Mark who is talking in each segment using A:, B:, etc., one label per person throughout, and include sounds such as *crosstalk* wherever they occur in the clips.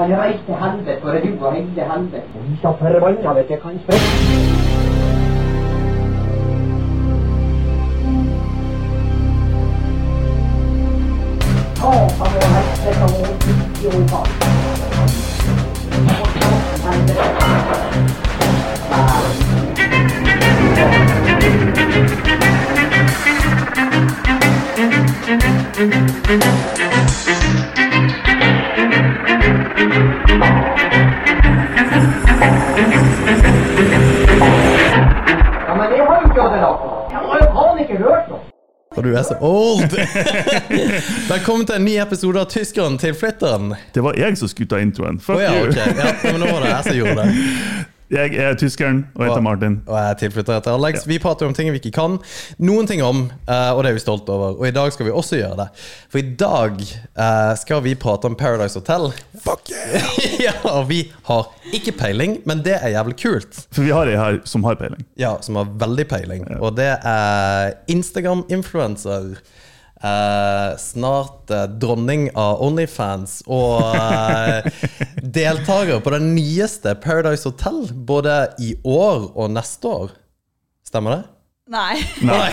A: Han reiste til helvete og redua hele helvete.
B: Vi skal forbanna hvis jeg kan spørre.
A: Å, han var helvete og ikke i opphav. Ja, men det har jo ikke Odd Elako. Jeg har jo faen ikke hørt noe.
C: Og du er så old! Velkommen til en ny episode av Tyskeren til flytteren.
D: Det var jeg som skulle ta introen.
C: Å
D: Fuck
C: ja,
D: you.
C: ok. Ja, men nå var det jeg som gjorde det.
D: *laughs* Jeg er tyskeren og heter
C: Og-
D: Martin.
C: Og jeg er tilflytter etter Alex. Vi prater jo om ting vi ikke kan noen ting om, eh, og det er vi stolt over. Og i dag skal vi også gjøre det. For i dag eh, skal vi prate om Paradise Hotel. Fuck yeah! *laughs* ja, og vi har ikke peiling, men det er jævlig kult.
D: For vi har ei her som har peiling.
C: Ja, som har veldig peiling. Og det er Instagram-influencer. eh, snart eh, dronning av Onlyfans og
D: *laughs*
C: eh, deltaker på den nyeste Paradise Hotel, både i år og neste år. Stemmer det?
E: Nei.
D: Nei,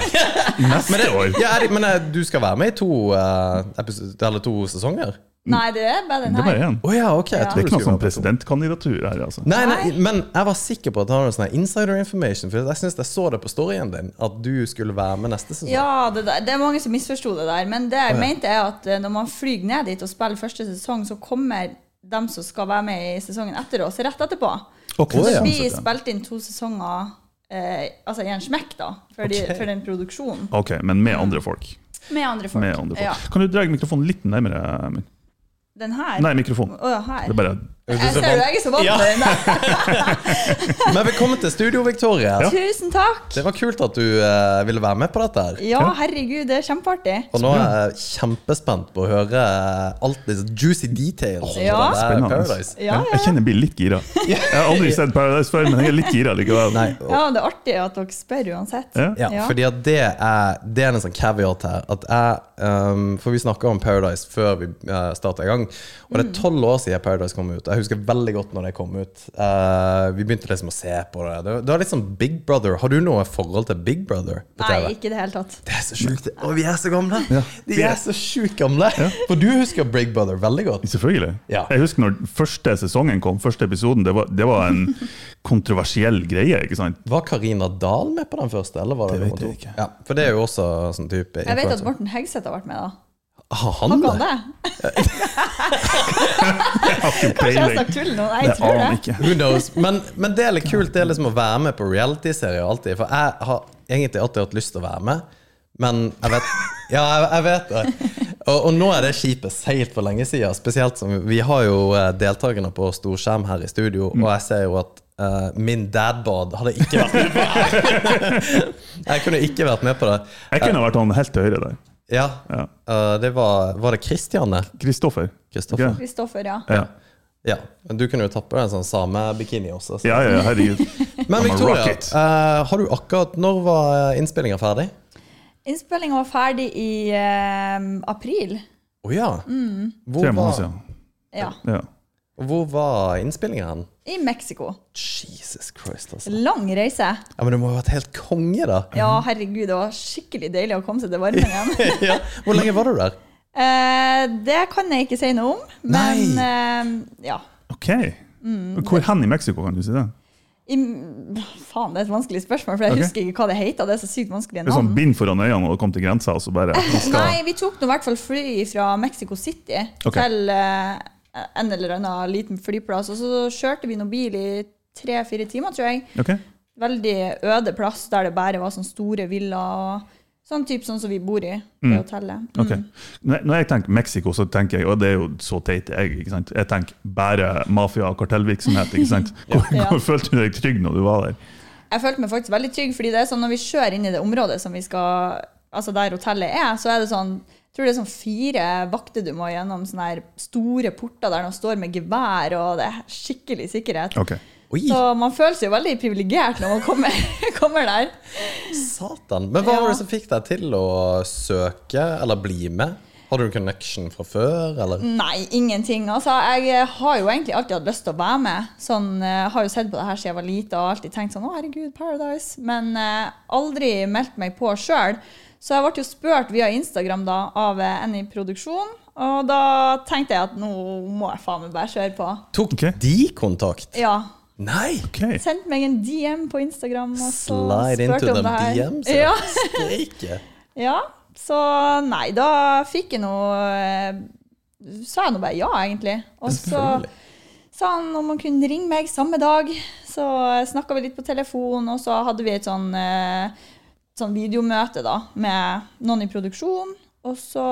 D: neste år.
C: Ja, er det men eh, du skal være med i to, eh, epis- eller to sesonger?
E: Nei, det er bare den
D: Det var
E: her.
D: én.
C: Å ja, ok. Jeg
E: Ja.
C: tror
D: Det er
C: du
D: ikke noe
C: skulle
D: sånn
C: være med i to.
D: presidentkandidatur her, altså.
C: Nei, nei, men jeg var sikker på at han hadde sånn her insider information. For jeg synes jeg så det på storyen din, at du skulle være med neste sesong.
E: Ja, det, der, det er mange som misforsto det der. Men det jeg mente, er at eh, når man flyr ned dit og spiller første sesong, så kommer dem som skal være med i sesongen etter oss, rett etterpå.
D: Ok,
C: Å,
E: Så
C: ja.
E: vi
D: sånn sett, ja.
E: spilte inn to sesonger eh, altså i en smekk, da, for, de,
C: Ok.
E: for den produksjonen.
D: Ok, men med andre folk.
E: Med andre folk.
D: Med andre folk.
E: Ja.
D: Kan du dra mikrofonen litt nærmere? Min?
E: Den her?
D: Nei, mikrofon.
E: Å, ja, her.
D: Det er bare
E: Jeg ser jo, jeg er så vant
C: Ja.
E: med den der.
C: Men velkommen til studio, Victoria.
E: Tusen takk!
C: Det var kult at du eh, ville være med på dette. her
E: Ja, herregud, det er kjempeartig.
C: Og nå er jeg kjempespent på å høre eh, alt disse juicy details. om
E: Ja.
C: det der
D: spennende.
C: Eh, Paradise.
E: Ja, ja,
D: Jeg kjenner jeg blir litt gira.
C: *laughs*
D: Jeg har aldri sett Paradise før, men jeg er litt gira likevel.
C: Nei, og,
E: Ja, det er artig at dere spør uansett.
D: Ja.
C: ja,
E: Ja.
C: fordi at det er, det er en sånn caveat her. At jeg, ehm, for vi snakka om Paradise før vi uh, starta i gang. Og det er tolv år siden Paradise kom ut. Jeg husker veldig godt når det kom ut. Eh, vi begynte liksom å se på det. Det, det var litt sånn Big Brother. Har du noe forhold til Big Brother? på
E: Nei,
C: TV?
E: ikke i det hele tatt.
C: Det er så sjukt. Og vi er så gamle. De
D: Vi
C: er
D: er-
C: så sjukt gamle. For du husker Big Brother veldig godt.
D: Selvfølgelig.
C: Ja.
D: Jeg husker når første sesongen kom, første episoden, det var, det var en kontroversiell greie. ikke sant? *laughs*
C: Var Karina Dahl med på den første? eller var det
D: Det vet
C: nummer to?
D: jeg ikke.
C: Ja, for det er jo også sånn type
E: Jeg vet at
C: influencer.
E: Morten Hegseth har vært med, da.
C: Har han
E: Kan
C: det?
E: det?
D: Jeg har ikke
E: Kanskje jeg
D: peiling.
E: snakker tull nå? Nei,
D: Jeg
E: jeg tror
D: aner
E: det.
D: ikke.
C: Who knows? Men, men det er litt kult det er liksom å være med på reality-serier alltid. For jeg har egentlig alltid hatt lyst til å være med, men jeg vet Ja, jeg, jeg vet det. Og, og nå er det skipet seilt for lenge siden. Spesielt som vi har jo eh, deltakerne på storskjerm her i studio,
D: Mm.
C: og jeg ser jo at eh, min dadbod hadde ikke vært med på det. Jeg kunne ikke vært med på det.
D: Jeg kunne vært han helt til høyre der.
C: Ja,
D: Ja.
C: eh, det var Var det Kristianne?
D: Kristoffer.
C: Kristoffer.
D: Ok.
E: Kristoffer, ja.
D: Ja.
C: Ja. Men du kunne jo tatt på deg en sånn samebikini også. Så.
D: ja, ja, herregud.
C: Men
D: I'm a
C: Victoria,
D: rocket.
C: eh, har du akkurat Når var innspillinga ferdig?
E: Innspillinga var ferdig i eh, april.
C: Å ja.
E: Mm.
C: Hvor,
D: Tre måneder
C: var,
D: siden.
E: Ja.
D: Ja.
C: hvor var innspillinga hen?
E: I Mexico.
C: Jesus Christ, altså.
E: Lang reise.
C: Ja, Men det må ha vært helt konge, da.
E: Ja,
D: Mhm.
E: herregud, det var skikkelig deilig å komme seg til varmen
D: *laughs*
E: igjen.
C: ja. Hvor lenge var du der?
E: Eh, det kan jeg ikke si noe om, men eh, ja.
D: Ok.
E: Mm.
D: Hvor hen i Mexico kan du si det?
E: I, faen, det er et vanskelig spørsmål, for jeg
D: Ok.
E: husker ikke hva det heter. Det er så sykt vanskelige
D: Det er sånn
E: navn.
D: bind foran øynene og kom til grensa, og så bare
E: Nei, vi tok nå i hvert fall fly fra Mexico City
D: Ok.
E: til eh, en eller annen liten flyplass, og så kjørte vi noen bil i tre-fire timer, tror jeg.
D: Ok.
E: Veldig øde plass der det bare var sånne store villaer. og Sånn type sånn som vi bor i, det hotellet. Mm.
D: ok. Når når jeg tenker Mexico, så tenker jeg Og det er jo så teit jeg, ikke sant? Jeg tenker bare mafia og kartellvirksomhet, ikke sant? Hvor,
E: *laughs* Ja.
D: hvor følte du deg trygg når du var der?
E: Jeg følte meg faktisk veldig trygg, fordi det er sånn når vi kjører inn i det området som vi skal, altså der hotellet er, så er det sånn jeg tror det er sånn fire vakter du må gjennom sånne her store porter der de står med gevær, og det er skikkelig sikkerhet.
D: Ok.
C: Oi,
E: Så man føler seg jo veldig privilegert når man kommer, *laughs* kommer der.
C: satan. Men hva var
E: Ja.
C: det som fikk deg til å søke eller bli med? Hadde du connection fra før, eller?
E: Nei, ingenting. Altså, jeg har jo egentlig alltid hatt lyst til å være med. Sånn, eh, har jo sett på det her siden jeg var lite og alltid tenkt sånn Å, herregud, Paradise. Men eh, aldri meldt meg på sjøl. Så jeg ble jo spurt via Instagram da av eh, en i produksjon. Og da tenkte jeg at nå må jeg faen meg bare kjøre på.
C: Tok
D: Ok.
C: de kontakt? *laughs*
E: Ja.
C: Nei!
D: Ok.
E: Sendte meg en DM på Instagram og så
C: Slide into
E: spurte om
C: them
E: det her.
C: DMs.
E: Ja.
C: Steike.
E: Ja, så nei, da fikk jeg noe Sa jeg nå bare ja, egentlig. Og så
C: Selvfølgelig.
E: sa han om han kunne ringe meg samme dag. Så snakka vi litt på telefon, og så hadde vi et sånn, eh, sånn videomøte da, med noen i produksjon. Og så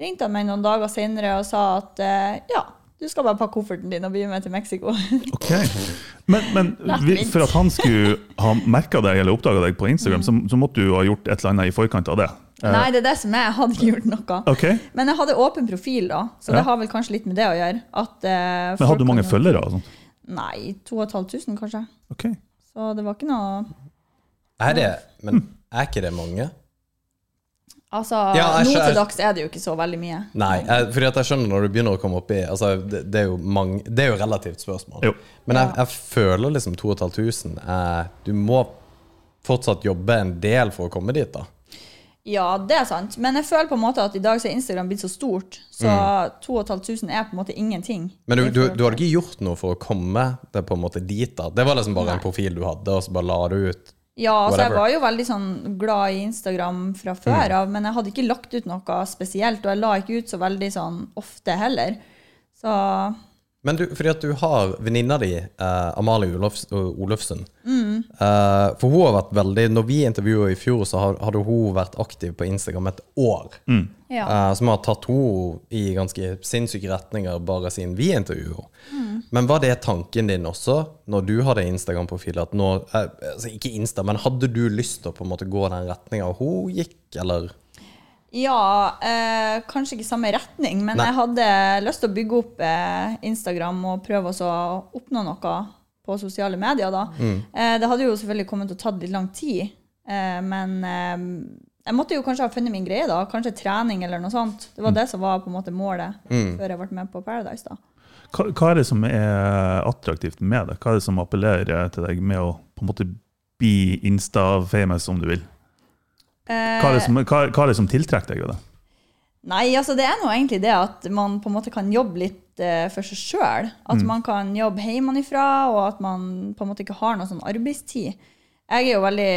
E: ringte han meg noen dager senere og sa at eh, ja, du skal bare pakke kofferten din og bli med til Mexico.
D: Ok. Men,
E: *laughs*
D: men vi, for at han skulle ha merka deg eller oppdaga deg på Instagram, så, så måtte du jo ha gjort et eller annet i forkant av det. Eh,
E: Mm. *laughs* nei, det er det som er. Jeg hadde ikke gjort noe.
D: Ok,
E: Men jeg hadde åpen profil, da, så
D: Ja.
E: det har vel kanskje litt med det å gjøre. At, eh,
D: Men
E: folk
D: hadde du mange
E: kan jo-
D: følgere? og sånt?
E: Nei, 2500 kanskje.
D: Ok.
E: Så det var ikke noe
C: Er det
E: *laughs*
C: Men er ikke det mange?
E: Altså,
C: Ja, jeg
E: nå
C: skjø-
E: til dags er det jo ikke så veldig mye.
C: Nei. Jeg, fordi at jeg skjønner når du begynner å komme opp i altså, det, det, er jo mange, det er jo relativt spørsmål.
D: Jo.
C: Men jeg, jeg føler liksom 2500 er Du må fortsatt jobbe en del for å komme dit, da.
E: Ja, det er sant. Men jeg føler på en måte at i dag så er Instagram blitt så stort, så
C: Mm.
E: 2500 er på en måte ingenting.
C: Men du,
E: i
C: du,
E: forhold
C: du hadde ikke gjort noe for å komme deg på en måte dit, da. Det var liksom bare en profil du hadde, og så bare la du ut.
E: Ja, altså jeg
C: Whatever.
E: var jo veldig sånn glad i Instagram fra
D: Mm.
E: før av, men jeg hadde ikke lagt ut noe spesielt, og jeg la ikke ut så veldig sånn ofte heller. Så
C: Men du, fordi at du har venninna di, eh, Amalie Olofs Olofsen eh, For hun har vært veldig Når vi intervjua i fjor, så har- hadde hun vært aktiv på Instagram et år.
E: ja.
C: eh, som har tatt henne i ganske sinnssyke retninger bare siden vi intervjuet henne.
E: Mm.
C: Men var det tanken din også, når du hadde Instagram-profil, at nå eh, altså Ikke Insta, men hadde du lyst til å på en måte gå den retninga hun gikk, eller?
E: Ja, eh, kanskje ikke samme retning, men
C: Nei.
E: jeg hadde lyst til å bygge opp eh, Instagram og prøve også å oppnå noe på sosiale medier. da. Eh, det hadde jo selvfølgelig kommet til å tatt litt lang tid, eh, men eh, jeg måtte jo kanskje ha funnet min greie, da. Kanskje trening eller noe sånt. Det var det som var på en måte målet før jeg ble med på Paradise. da.
D: Hva, hva er det som er attraktivt med det? Hva er det som appellerer til deg med å på en måte bli Insta-famous, om du vil?
E: Eh,
D: Hva er det som, hva, hva er det som tiltrekker deg ved det?
E: Nei, altså det er nå egentlig det at man på en måte kan jobbe litt eh, for seg sjøl. At man kan jobbe hjemmefra, og at man på en måte ikke har noe sånn arbeidstid. Jeg er jo veldig,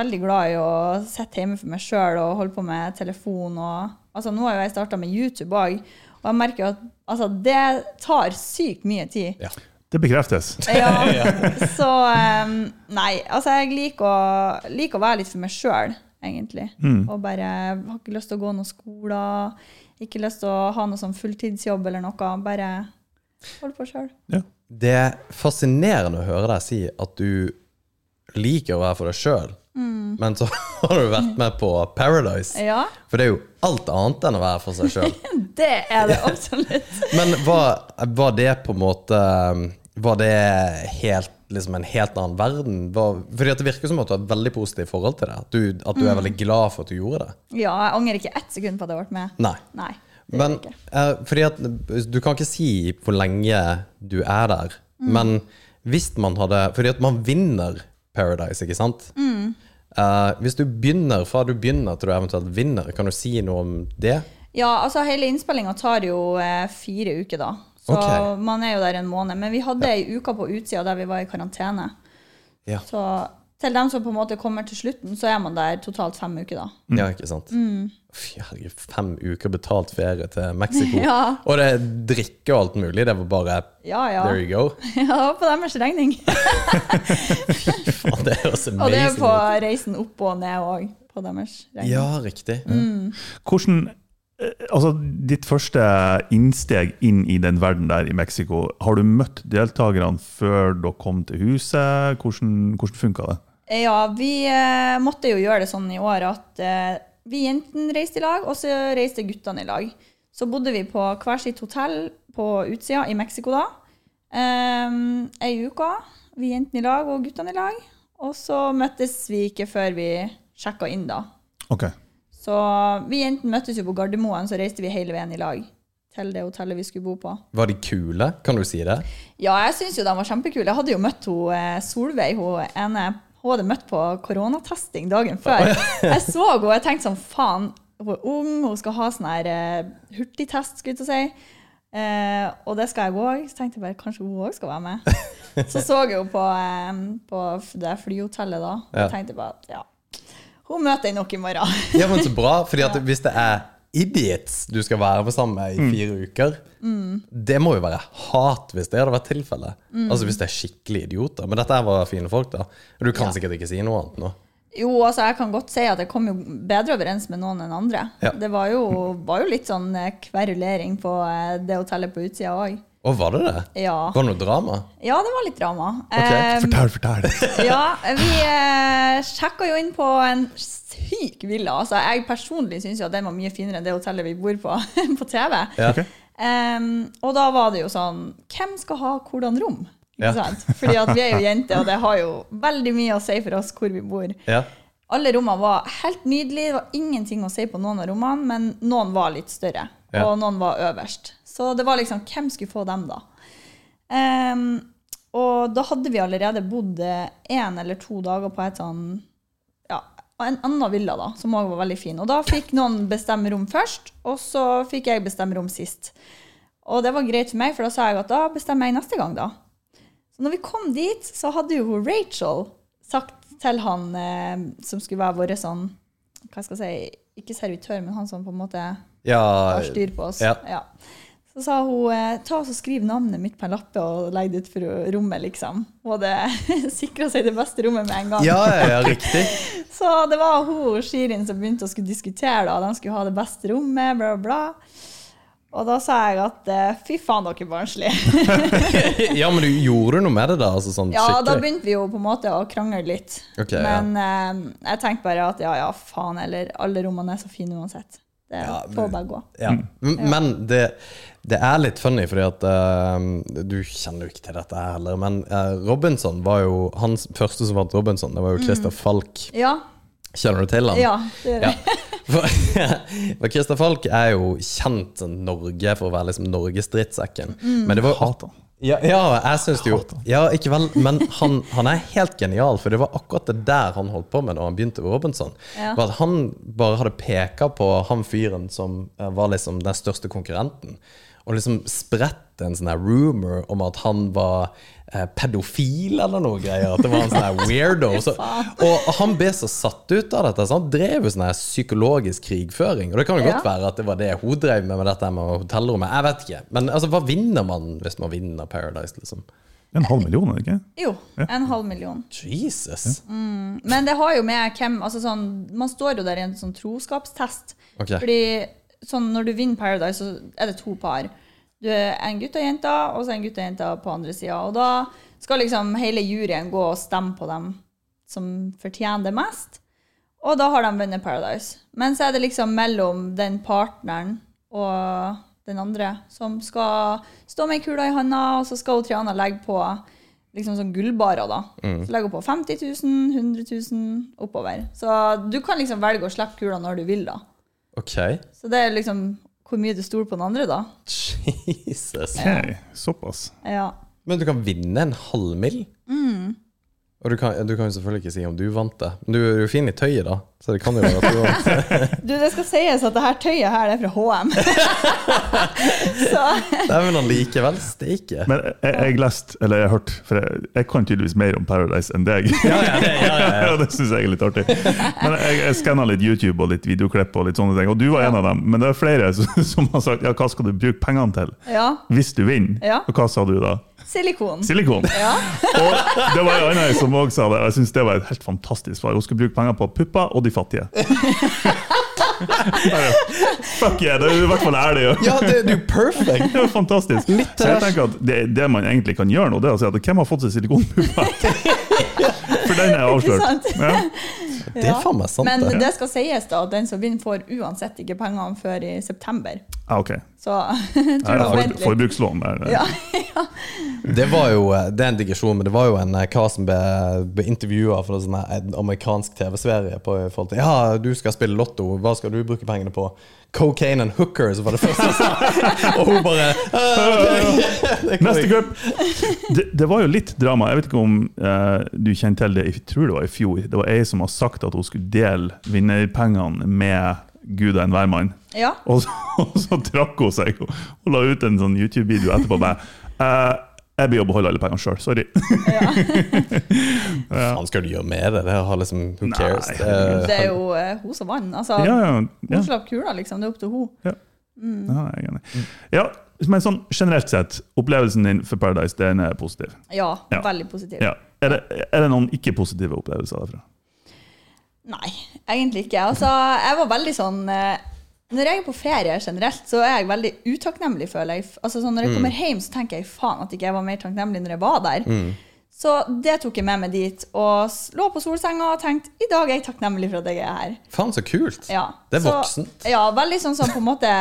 E: veldig glad i å sitte hjemme for meg sjøl og holde på med telefon. Og, altså Nå har jo jeg starta med YouTube òg, og jeg merker jo at altså, det tar sykt mye tid.
C: Ja.
D: Det bekreftes.
E: *laughs* Ja, så em, Nei, altså jeg liker å, liker å være litt for meg sjøl, egentlig. Og bare har ikke lyst til å gå noen skoler, ikke lyst til å ha noe sånn fulltidsjobb eller noe. Bare holde på sjøl.
D: Ja.
C: Det er fascinerende å høre deg si at du liker å være for deg sjøl, men så *laughs* har du vært med på Paradise.
E: Mm. Ja,
C: For det er jo alt annet enn å være for seg
E: *laughs*
C: sjøl.
E: det er det absolutt.
C: Men var, var det på en måte Var det helt, liksom en helt annen verden? Var, fordi at det virker som at du har et veldig positivt forhold til det. At du, at du
E: Mm.
C: er veldig glad for at du gjorde det.
E: *laughs* Ja, jeg angrer ikke ett sekund på at jeg ble med.
C: Nei.
E: Nei. det gjør
C: Men
E: jeg ikke.
C: eh, fordi at du kan ikke si hvor lenge du er der.
E: Mm.
C: Men hvis man hadde Fordi at man vinner Paradise, ikke sant?
E: Mm.
C: Eh, hvis du begynner fra du begynner til du eventuelt vinner, kan du si noe om det?
E: Ja, altså hele innspillinga tar jo eh, fire uker, da. Så
C: Ok.
E: man er jo der en måned. Men vi hadde ei uke på utsida der vi var i karantene.
C: Ja.
E: Så til dem som på en måte kommer til slutten, så er man der totalt fem uker, da.
C: Ja, ikke sant?
E: Mm.
C: Fy, herregud, fem uker betalt ferie til Mexico.
E: *laughs* Ja.
C: Og det er drikke og alt mulig. Det var bare
E: Ja, ja.
C: There you go. *laughs*
E: *laughs* ja på deres regning.
C: Faen, det høres amazing
E: *laughs* Og det er på
C: ut.
E: reisen opp og ned òg, på deres regning.
C: Ja, riktig.
E: Mm.
D: Hvordan eh, Altså, ditt første innsteg inn i den verden der i Mexico, har du møtt deltakerne før dere kom til huset? Hvordan, hvordan funka det?
E: Ja, vi eh, måtte jo gjøre det sånn i år at eh, vi jentene reiste i lag, og så reiste guttene i lag. Så bodde vi på hver sitt hotell på utsida i Mexico da. Um, ei uke. Vi jentene i lag og guttene i lag. Og så møttes vi ikke før vi sjekka inn, da.
D: Ok.
E: Så vi jentene møttes jo på Gardermoen, så reiste vi hele veien i lag til det hotellet vi skulle bo på.
C: Var de kule? Kan du si det?
E: Ja, jeg syns jo de var kjempekule. Jeg hadde jo møtt ho, eh, Solveig, hun ene. Hun hadde møtt på koronatesting dagen før. Jeg så henne og jeg tenkte sånn, faen, hun er ung, hun skal ha sånn her eh, hurtigtest, skulle jeg til å si. Eh, og det skal jeg òg. Så tenkte jeg bare kanskje hun òg skal være med. Så så jeg henne på, eh, på f- det flyhotellet da. Og
C: Ja.
E: tenkte bare at ja, hun møter jeg nok i morgen.
C: Ja, men så bra. Fordi
E: *laughs*
C: at hvis det er idiots du skal være med sammen med i fire uker,
E: Mm.
C: det må jo være hat hvis det hadde vært tilfellet. Altså hvis det er skikkelig idioter. Men dette her var fine folk, da. Og du kan sikkert ikke si noe annet nå.
E: Jo, altså jeg kan godt si at jeg kom jo bedre overens med noen enn andre.
C: Ja.
E: Det var jo, var jo litt sånn eh, kverulering på eh, det hotellet på utsida òg.
C: Å, var det det?
E: Ja.
C: Var det noe drama?
E: ja, det var litt drama.
C: Ok,
E: Eh,
D: Fortell, fortell!
E: ja, vi eh, sjekka jo inn på en syk villa. Altså, jeg personlig syns jo at den var mye finere enn det hotellet vi bor på på *laughs* TV.
C: Ja.
D: Ok.
E: Em, og da var det jo sånn Hvem skal ha hvordan rom?
C: Ja.
E: Ikke sant? Fordi at vi er jo jenter, og det har jo veldig mye å si for oss hvor vi bor.
C: Ja.
E: Alle rommene var helt nydelige. Det var ingenting å si på noen av rommene, men noen var litt større,
C: Ja.
E: og noen var øverst. Så det var liksom Hvem skulle få dem, da? Ehm, og da hadde vi allerede bodd én eller to dager på et sånn Ja, en annen villa, da, som òg var veldig fin. Og da fikk noen bestemme rom først, og så fikk jeg bestemme rom sist. Og det var greit for meg, for da sa jeg at da bestemmer jeg neste gang, da. Så når vi kom dit, så hadde jo hun Rachel sagt til han eh, som skulle være vår sånn Hva skal jeg si Ikke servitør, men han som på en måte
C: ja.
E: har styr på oss.
C: Eh, Ja.
E: Så sa hun eh, ta oss og skriv navnet mitt på en lappe og legg det ut for rommet, liksom. Hun hadde *laughs* sikra seg det beste rommet med en gang.
C: Ja, ja, ja,
E: *laughs*
C: riktig.
E: Så det var hun og Shirin som begynte å skulle diskutere. da, De skulle ha det beste rommet, bla, bla, bla. Og da sa jeg at eh, fy faen, dere er barnslige.
C: Ja, men du gjorde noe med det, da? Altså sånn
E: Ja, da
C: skikkelig?
E: begynte vi jo på en måte å krangle litt.
C: Ok, ja.
E: Men eh, jeg tenkte bare at ja, ja, faen eller alle rommene er så fine uansett. Det
C: Ja,
E: får bare gå.
C: Ja. M- Men det, det er litt funny, fordi at eh, Du kjenner jo ikke til dette her heller, men eh, Robinson var jo Han første som vant Robinson, det var
E: Mm.
C: jo Christer Falk.
E: Ja,
C: Kjenner du til han?
E: ja, det gjør
C: Ja.
E: jeg.
C: For, *laughs* for Christer Falk er jo kjent sånn Norge for å være liksom Norges drittsekken.
E: Mm.
C: Men det var
D: Hat han.
C: Ja, ja jeg syns det jo Ja, ikke vel, men han, han er helt genial, for det var akkurat det der han holdt på med da han begynte med Robinson.
E: Ja.
C: Var at han bare hadde peka på han fyren som eh, var liksom den største konkurrenten, og liksom spredt en sånn her rumor om at han var eh, pedofil eller noe greier. At det var en sånn her weirdo. Så, og han ble så satt ut av dette, så han drev jo sånn her psykologisk krigføring. Og det kan jo
E: Ja.
C: godt være at det var det hun drev med med dette med hotellrommet. Jeg vet ikke. Men altså, hva vinner man hvis man vinner Paradise, liksom?
D: *laughs* En halv million, er det ikke?
E: Jo, en halv million.
C: Jesus!
E: Men det har jo med hvem altså sånn, Man står jo der i en sånn troskapstest.
C: Ok.
E: Fordi sånn, når du vinner Paradise, så er det to par. Du er en gutt og jente, og så en gutt og jente på andre sida. Og da skal liksom hele juryen gå og stemme på dem som fortjener det mest. Og da har de vunnet Paradise. Men så er det liksom mellom den partneren og den andre som skal stå med ei kule i handa, og så skal hun Triana legge på liksom sånn gullbarer, da. Så legger hun på 50 000, 100 000, oppover. Så du kan liksom velge å slippe kula når du vil, da.
C: Ok.
E: Så det er liksom hvor mye du stoler på den andre, da.
C: Jesus.
D: Ok, Såpass.
E: Ja.
C: Men du kan vinne en halv mil. Og du kan, du kan jo selvfølgelig ikke si om du vant det. Men du er jo fin i tøyet, da. Så det kan jo være at du vant.
E: Du, det skal sies at det her tøyet her, det er fra HM. *laughs* så
C: Dæven, han likevel steike.
D: Men eh, jeg, jeg leste, eller jeg hørte, for jeg, jeg kan tydeligvis mer om Paradise enn deg. Ja, *laughs* ja, det, syns jeg er litt artig. Men jeg, jeg skanna litt YouTube og litt videoklipp, og litt sånne ting, og du var en av dem. Men det er flere som, *laughs* som har sagt ja, hva skal du bruke pengene til
E: ja.
D: hvis du vinner?
E: Ja.
D: Og hva sa du da?
E: Silikon.
D: Silikon!
E: Ja.
D: Og det var en annen som også sa det, og jeg syns det var et helt fantastisk svar. Hun skulle bruke penger på pupper og de
E: *laughs*
D: fattige. Bare, Fuck yeah, det er jo i hvert fall ærlig. Ja.
C: Ja, det, du er perfect!
D: Det var fantastisk. så
E: eh,
D: jeg tenker at det, det man egentlig kan gjøre nå, det er å si at hvem har fått seg
E: *laughs*
D: silikonpupper? For den er avslørt.
E: Ikke sant?
D: Ja.
C: Det er faen meg sant,
E: Men
C: det.
E: det skal sies da at den som vinner, får uansett ikke pengene før i september.
D: Ah, ok.
E: Så *laughs* jeg tror
D: Her er
E: du må
D: for,
E: vente litt.
D: forbrukslån. Der.
E: Ja, *laughs* ja.
C: Det var jo, eh, det er en digresjon, men det var jo en eh, kar som ble, ble intervjua for en sånn her- en amerikansk TV-serie på i forhold til Ja, du skal spille lotto, hva skal du bruke pengene på? Cocaine and hookers var det første han sa! Og hun bare "Eh, «Ah,
D: *laughs*
C: ok».
D: Neste cup! Det, det var jo litt drama. Jeg vet ikke om eh, du kjenner til det, jeg tror det var i fjor. Det var ei som har sagt at hun skulle dele vinnerpengene med gud og enhver mann.
E: Ja.
D: Og så, *laughs* og så trakk hun seg og, og la ut en sånn YouTube-video etterpå med eh, Jeg blir å beholde alle pengene sjøl, sorry.
C: Hva faen skal du gjøre med det? Det har liksom, Who
D: Nei,
C: cares? Det-
D: herregud.
E: Det er jo eh, hun som vant. Altså,
D: *laughs* Ja, ja, ja.
E: Hun slapp kula, liksom. Det er opp til hun.
D: Ja, jeg er enig. ja, men sånn generelt sett, opplevelsen din for Paradise den er positiv.
E: Ja,
D: Ja.
E: veldig positiv.
D: Ja. Er, det, er det noen ikke-positive opplevelser derfra?
E: Nei, egentlig ikke. Altså, jeg var veldig sånn eh, Når jeg er på ferie generelt, så er jeg veldig utakknemlig, føler jeg. Altså, sånn, når
C: Mm.
E: jeg kommer hjem, så tenker jeg faen at ikke jeg var mer takknemlig når jeg var der.
C: Mm.
E: Så det tok jeg med meg dit, og s- lå på solsenga og tenkte i dag er jeg takknemlig for at jeg er her.
C: Faen, så kult!
E: Ja.
C: Det er
E: Så-
C: voksent.
E: Ja, veldig sånn som på en måte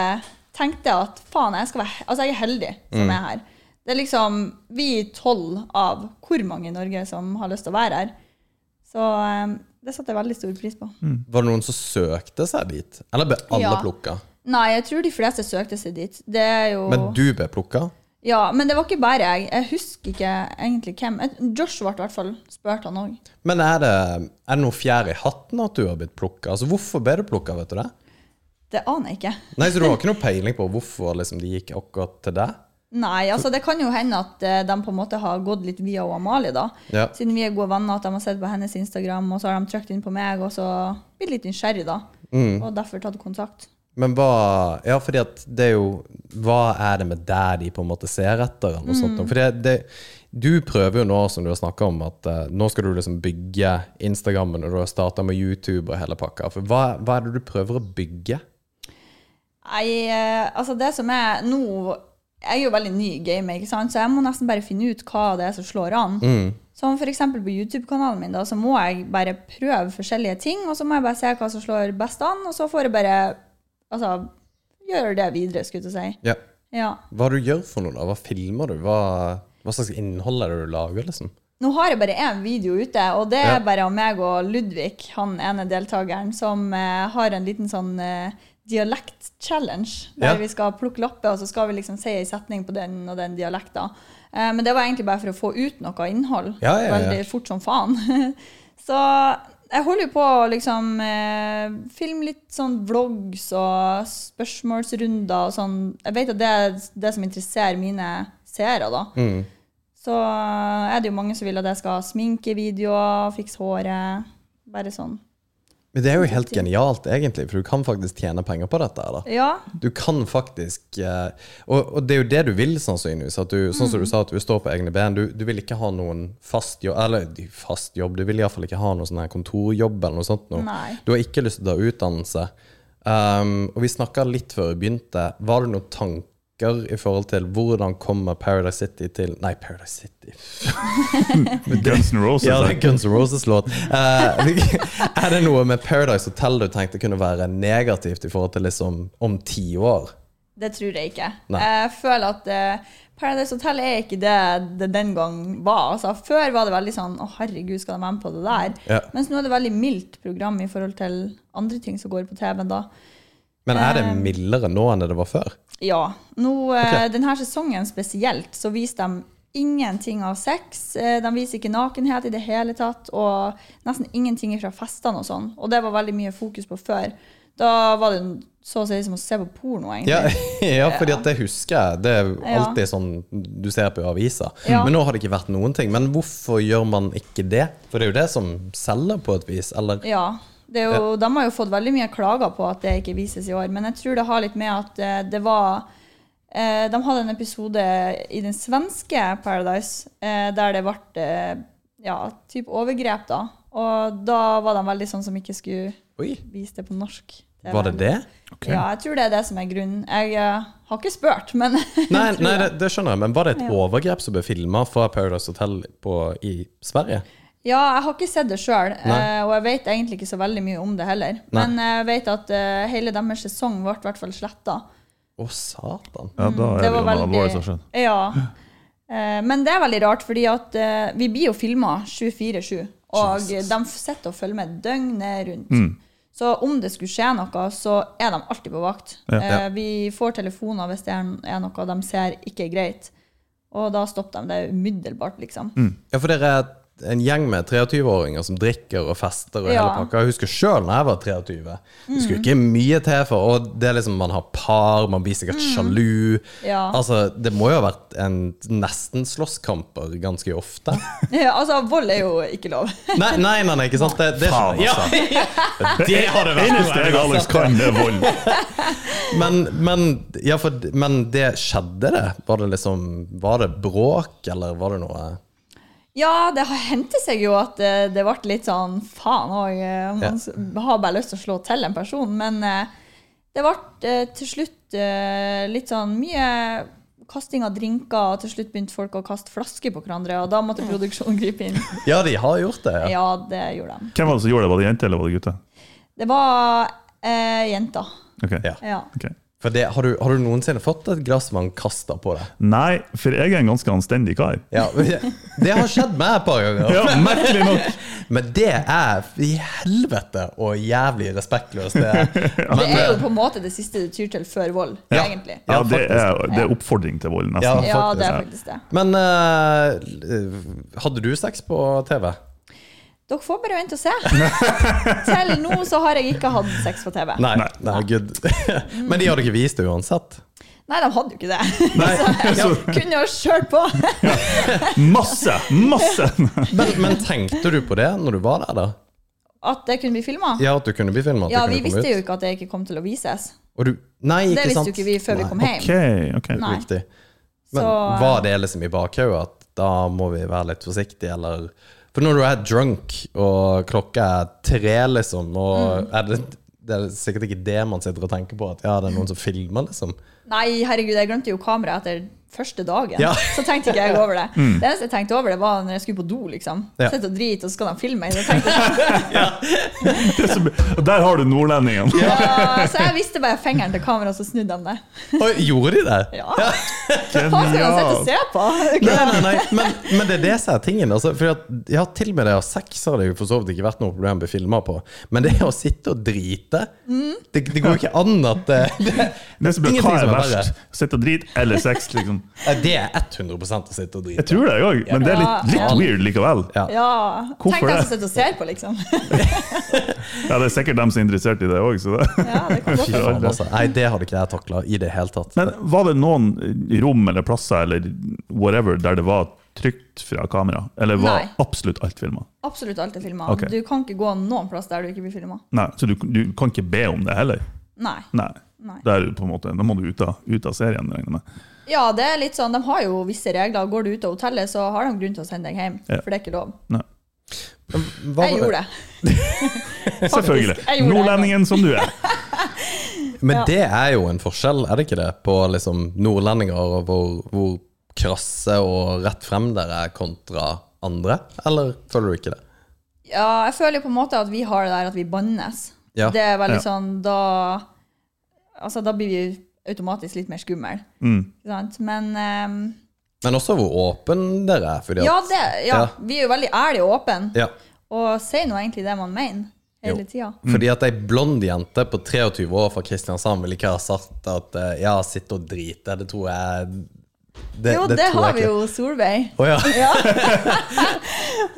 E: tenkte at faen, jeg, skal være, altså, jeg er heldig som
C: Mm.
E: er her. Det er liksom vi tolv av hvor mange i Norge som har lyst til å være her. Så eh, det satte jeg veldig stor pris på.
C: Var det noen som søkte seg dit? Eller ble alle
E: Ja.
C: plukka?
E: Nei, jeg tror de fleste søkte seg dit. Det er jo
C: Men du ble plukka?
E: Ja, men det var ikke bare jeg. Jeg husker ikke egentlig hvem. Jeg- Josh ble i hvert fall spurt, han òg.
C: Men er det, er det noe fjær i hatten at du har blitt plukka? Altså, hvorfor ble du plukka, vet du det?
E: Det aner jeg ikke.
C: Nei, Så du har ikke noe peiling på hvorfor liksom, de gikk akkurat til deg?
E: Nei, altså det kan jo hende at eh, de på en måte har gått litt via hun Amalie, da.
C: Ja.
E: Siden vi er gode venner, at de har sett på hennes Instagram, og så har de trykt inn på meg, og så blitt litt nysgjerrig, da.
C: Mm.
E: Og derfor tatt kontakt.
C: Men hva Ja, fordi at det er jo Hva er det med deg de på en måte ser etter? Eller noe sånt? For det, det, du prøver jo nå, som du har snakka om, at eh, nå skal du liksom bygge Instagrammen, og du har starta med YouTube og hele pakka. For hva, hva er det du prøver å bygge?
E: Nei, eh, altså det som er nå Jeg er jo veldig ny i gamet, ikke sant? så jeg må nesten bare finne ut hva det er som slår an. Som f.eks. på YouTube-kanalen min, da, så må jeg bare prøve forskjellige ting. Og så må jeg bare se hva som slår best an, og så får jeg bare altså, gjøre det videre, skulle jeg til å si.
C: Ja.
E: Ja.
C: Hva er det du gjør for noe, da? Hva filmer du? Hva, hva slags innhold er det du lager, liksom?
E: Nå har jeg bare én video ute, og det
C: Ja.
E: er bare av meg og Ludvig, han ene deltakeren, som eh, har en liten sånn eh, dialekt-challenge. Der
C: Ja.
E: vi skal plukke lapper, og så skal vi liksom si en setning på den og den dialekta. Eh, men det var egentlig bare for å få ut noe innhold.
C: Ja, ja, ja.
E: Veldig fort som faen. *laughs* så jeg holder jo på å liksom eh, filme litt sånn vlogs og spørsmålsrunder og sånn. Jeg vet at det er det som interesserer mine seere, da
C: Mm.
E: så er det jo mange som vil at jeg skal sminke videoer, fikse håret. Bare sånn.
C: Men det er jo helt genialt, egentlig, for du kan faktisk tjene penger på dette. her, da.
E: Ja.
C: Du kan faktisk eh, og, og det er jo det du vil, sannsynligvis. At du, sånn som du sa, at du står på egne ben. Du, du vil ikke ha noen fast jobb, eller de- fast jobb, du vil iallfall ikke ha noen sånn her kontorjobb eller noe sånt. Noe.
E: Nei.
C: Du har ikke lyst til å ta utdannelse. Um, og vi snakka litt før vi begynte. Var det noen tanker i forhold til hvordan kommer Paradise City til Nei, Paradise City.
D: Guns N' Roses.
C: Ja, det
D: jeg.
C: er Guns N' Roses-låt. Eh, *laughs* er det noe med Paradise Hotel du tenkte kunne være negativt i forhold til liksom om ti år?
E: Det tror jeg ikke.
C: Nei.
E: Jeg føler at eh, Paradise Hotel er ikke det det den gang var. Altså, før var det veldig sånn Å, herregud, skal de være med på det der?
C: Ja.
E: Mens nå er det veldig mildt program i forhold til andre ting som går på TV-en, da.
C: Men er
E: Eh.
C: det mildere nå enn det det var før?
E: Ja. Nå, eh,
C: Ok.
E: Denne sesongen spesielt så viser de ingenting av sex. Eh, De viser ikke nakenhet i det hele tatt, og nesten ingenting fra festene og sånn. Og det var veldig mye fokus på før. Da var det så å si som å se på porno, egentlig.
C: Ja, *laughs* ja fordi at det husker jeg. Det er
E: Ja.
C: alltid sånn du ser på i avisa.
E: Ja.
C: Men nå har det ikke vært noen ting. Men hvorfor gjør man ikke det? For det er jo det som selger på et vis, eller?
E: Ja. Det er jo, De har jo fått veldig mye klager på at det ikke vises i år, men jeg tror det har litt med at eh, det var eh, De hadde en episode i den svenske Paradise eh, der det ble eh, ja, typ overgrep, da. Og da var de veldig sånn som ikke skulle
C: Oi,
E: vise det på norsk. TV.
C: var det det?
E: Ja, jeg tror det er det som er grunnen. Jeg eh, har ikke spurt, men *laughs*
C: Nei, nei det, det skjønner jeg. Men var det et overgrep som ble filma fra Paradise Hotel på, i Sverige?
E: Ja, jeg har ikke sett det sjøl,
C: Nei.
E: og jeg vet egentlig ikke så veldig mye om det heller.
C: Nei.
E: Men jeg vet at eh, hele deres sesong ble i hvert fall sletta.
C: Å, satan.
D: Ja, da er det,
E: Det var
D: jo noe
E: veldig
D: alvorlig som har skjedd.
E: Ja. Eh, Men det er veldig rart, fordi at eh, vi blir jo filma 24-7. Og de f- sitter og følger med døgnet rundt. Så om det skulle skje noe, så er de alltid på vakt. Eh, Vi får telefoner hvis det er er noe de ser ikke er greit. Og da stopper de det umiddelbart, liksom.
C: Ja, for dere er en gjeng med 23-åringer som drikker og fester og
E: Ja.
C: hele pakka. Jeg husker sjøl da jeg var 23. Det skulle ikke mye til for Og det er liksom, man har par, man blir sikkert sjalu.
E: Mm. Ja.
C: Altså, det må jo ha vært en nesten slåsskamper ganske ofte.
E: *laughs*
C: *laughs*
E: altså, vold er jo ikke lov.
C: Nei, nei, nei, nei ikke sant? Det, det,
D: Faen, altså.
C: Ja, *laughs* det har det vært.
D: Eneste jeg Alex kan, det er vold.
C: Men, men, ja, for, men det skjedde, det? Var det liksom Var det bråk, eller var det noe
E: Ja, det har hendt seg jo at eh, det ble litt sånn faen òg. Man s- har bare lyst til å slå til en person. Men eh, det ble eh, til slutt eh, litt sånn mye kasting av drinker, og til slutt begynte folk å kaste flasker på hverandre, og da måtte produksjonen gripe inn.
C: Ja, de har gjort det. Ja.
E: Ja, det gjorde de.
D: Hvem var det som gjorde det? Var det jente eller var det gutte?
E: Det var eh, jenta.
D: Ok.
C: Ja.
E: Ja.
D: Ok.
C: For det, har, du, har du noensinne fått et glass man kaster på deg?
D: Nei, for jeg er en ganske anstendig kar.
C: Ja, Det har skjedd meg et par ganger.
D: Ja, merkelig nok.
C: *laughs* Men det er i helvete og jævlig respektløst. Det er.
E: Det er jo på en måte det siste det tyr til før vold,
C: Ja.
E: egentlig.
D: Ja,
C: Ja,
D: det er, det er oppfordring til vold, nesten.
C: Ja,
E: Ja, det er
C: faktisk,
E: faktisk det.
C: Men eh, hadde du sex på TV?
E: Dere får bare vente og se. Til nå så har jeg ikke hatt sex på TV.
C: Nei. Nei, gud. *laughs* Men de hadde ikke vist det uansett.
E: Nei, de hadde jo ikke det.
C: Nei,
D: *laughs*
E: Så jeg kunne jo kjørt på.
D: Masse!
C: *laughs*
D: Masse!
C: men, men tenkte du på det når du var der, da?
E: At det kunne bli filma?
C: Ja, at du kunne bli filmet? at
E: Ja,
C: det
E: vi
C: kunne komme
E: visste
C: ut.
E: jo ikke at det ikke kom til å vises.
C: Og du, nei, ikke
E: Det visste
C: sant?
E: jo ikke vi før vi kom hjem.
D: Ok, ok.
E: Nei.
C: Riktig. Men
E: Så- eh,
C: var det liksom i bakhodet at da må vi være litt forsiktige, eller For når du er drunk, og klokka er tre, liksom, og
E: Mm.
C: er det, det er sikkert ikke det man sitter og tenker på, at ja, det er noen som filmer, liksom.
E: Nei, herregud, jeg glemte jo kameraet etter første dagen.
C: Ja.
E: *laughs*
C: Mm.
E: Så tenkte ikke jeg over det. Det eneste jeg tenkte over, det var når jeg skulle på do, liksom.
C: Ja.
E: Sitte og drite, og så skal de filme meg. Så, tenkte jeg,
C: *laughs*
D: Det som, og der har du nordlendingene.
E: ja. så jeg visste bare *laughs* fingeren til kameraet, så snudde de det.
C: Og gjorde de det?
E: Ja. Hva skal de sitte og se på?
C: Nei, nei, nei, men, men det er det som er tingen. Altså, for at, ja, til og med det å ha sex har det jo for så vidt ikke vært noe problem å bli filma på. Men det å sitte og drite
E: Mm.
C: det, det går jo ikke an at det, *laughs* det,
D: Det som blir,
C: ingenting
D: hva er
C: som er verre.
D: verst? Sitte og drite eller sex, liksom?
C: Ja, Det er 100 å sitte og drite.
D: Jeg tror det, jeg òg, men det er litt, litt
E: Ja.
D: weird likevel.
C: Ja.
E: *laughs* Ja.
D: Hvorfor
E: Tenk deg
D: det?
E: som sitter og ser på, liksom. *laughs*
D: Ja, Det er sikkert dem som er interessert i det òg, så det
E: Ja, det kan godt
C: Fy faen,
E: være.
C: altså. Nei, det hadde ikke jeg takla i det hele tatt.
D: Men var det noen rom eller plasser eller whatever der det var trygt fra kamera? Eller var
E: Nei.
D: absolutt alt filma?
E: Absolutt alt er filma.
D: Ok.
E: Du kan ikke gå noen plass der du ikke blir filma.
D: Nei, så du, du kan ikke be om det heller?
E: Nei.
D: Nei.
E: Nei.
D: Da er du på en måte, da må du ut av, ut av serien, regner jeg med.
E: Ja, det er litt sånn, de har jo visse regler. Går du ut av hotellet, så har de grunn til å sende deg hjem.
D: Ja.
E: For det er ikke lov.
D: Nei.
C: Hva-
E: Jeg gjorde det. Faktisk,
D: Selvfølgelig.
E: *laughs* jeg gjorde det.
D: Nordlendingen som du er.
C: Men det er jo en forskjell, er det ikke det, på liksom nordlendinger og hvor, hvor krasse og rett frem dere er kontra andre? Eller føler du ikke det?
E: Ja, jeg føler jo på en måte at vi har det der at vi bannes.
C: Ja.
E: Det er veldig
D: Ja.
E: sånn, da Altså, da blir vi automatisk litt mer skummel.
C: Mm.
E: Ikke sant? Men ehm,
C: Men også hvor åpen dere er. Fordi at,
E: ja, det, ja,
C: Ja.
E: vi er jo veldig ærlige og åpne,
C: Ja.
E: og sier nå egentlig det man mener hele
C: Jo.
E: tida.
C: Fordi at ei blond jente på 23 år fra Kristiansand ville ikke ha sagt at eh, ja, sitte og drite. Det tror jeg det,
E: Jo, det,
C: tror
E: har
C: jeg
E: vi
C: ikke.
E: jo Solveig.
C: Å
E: *laughs*
C: ja.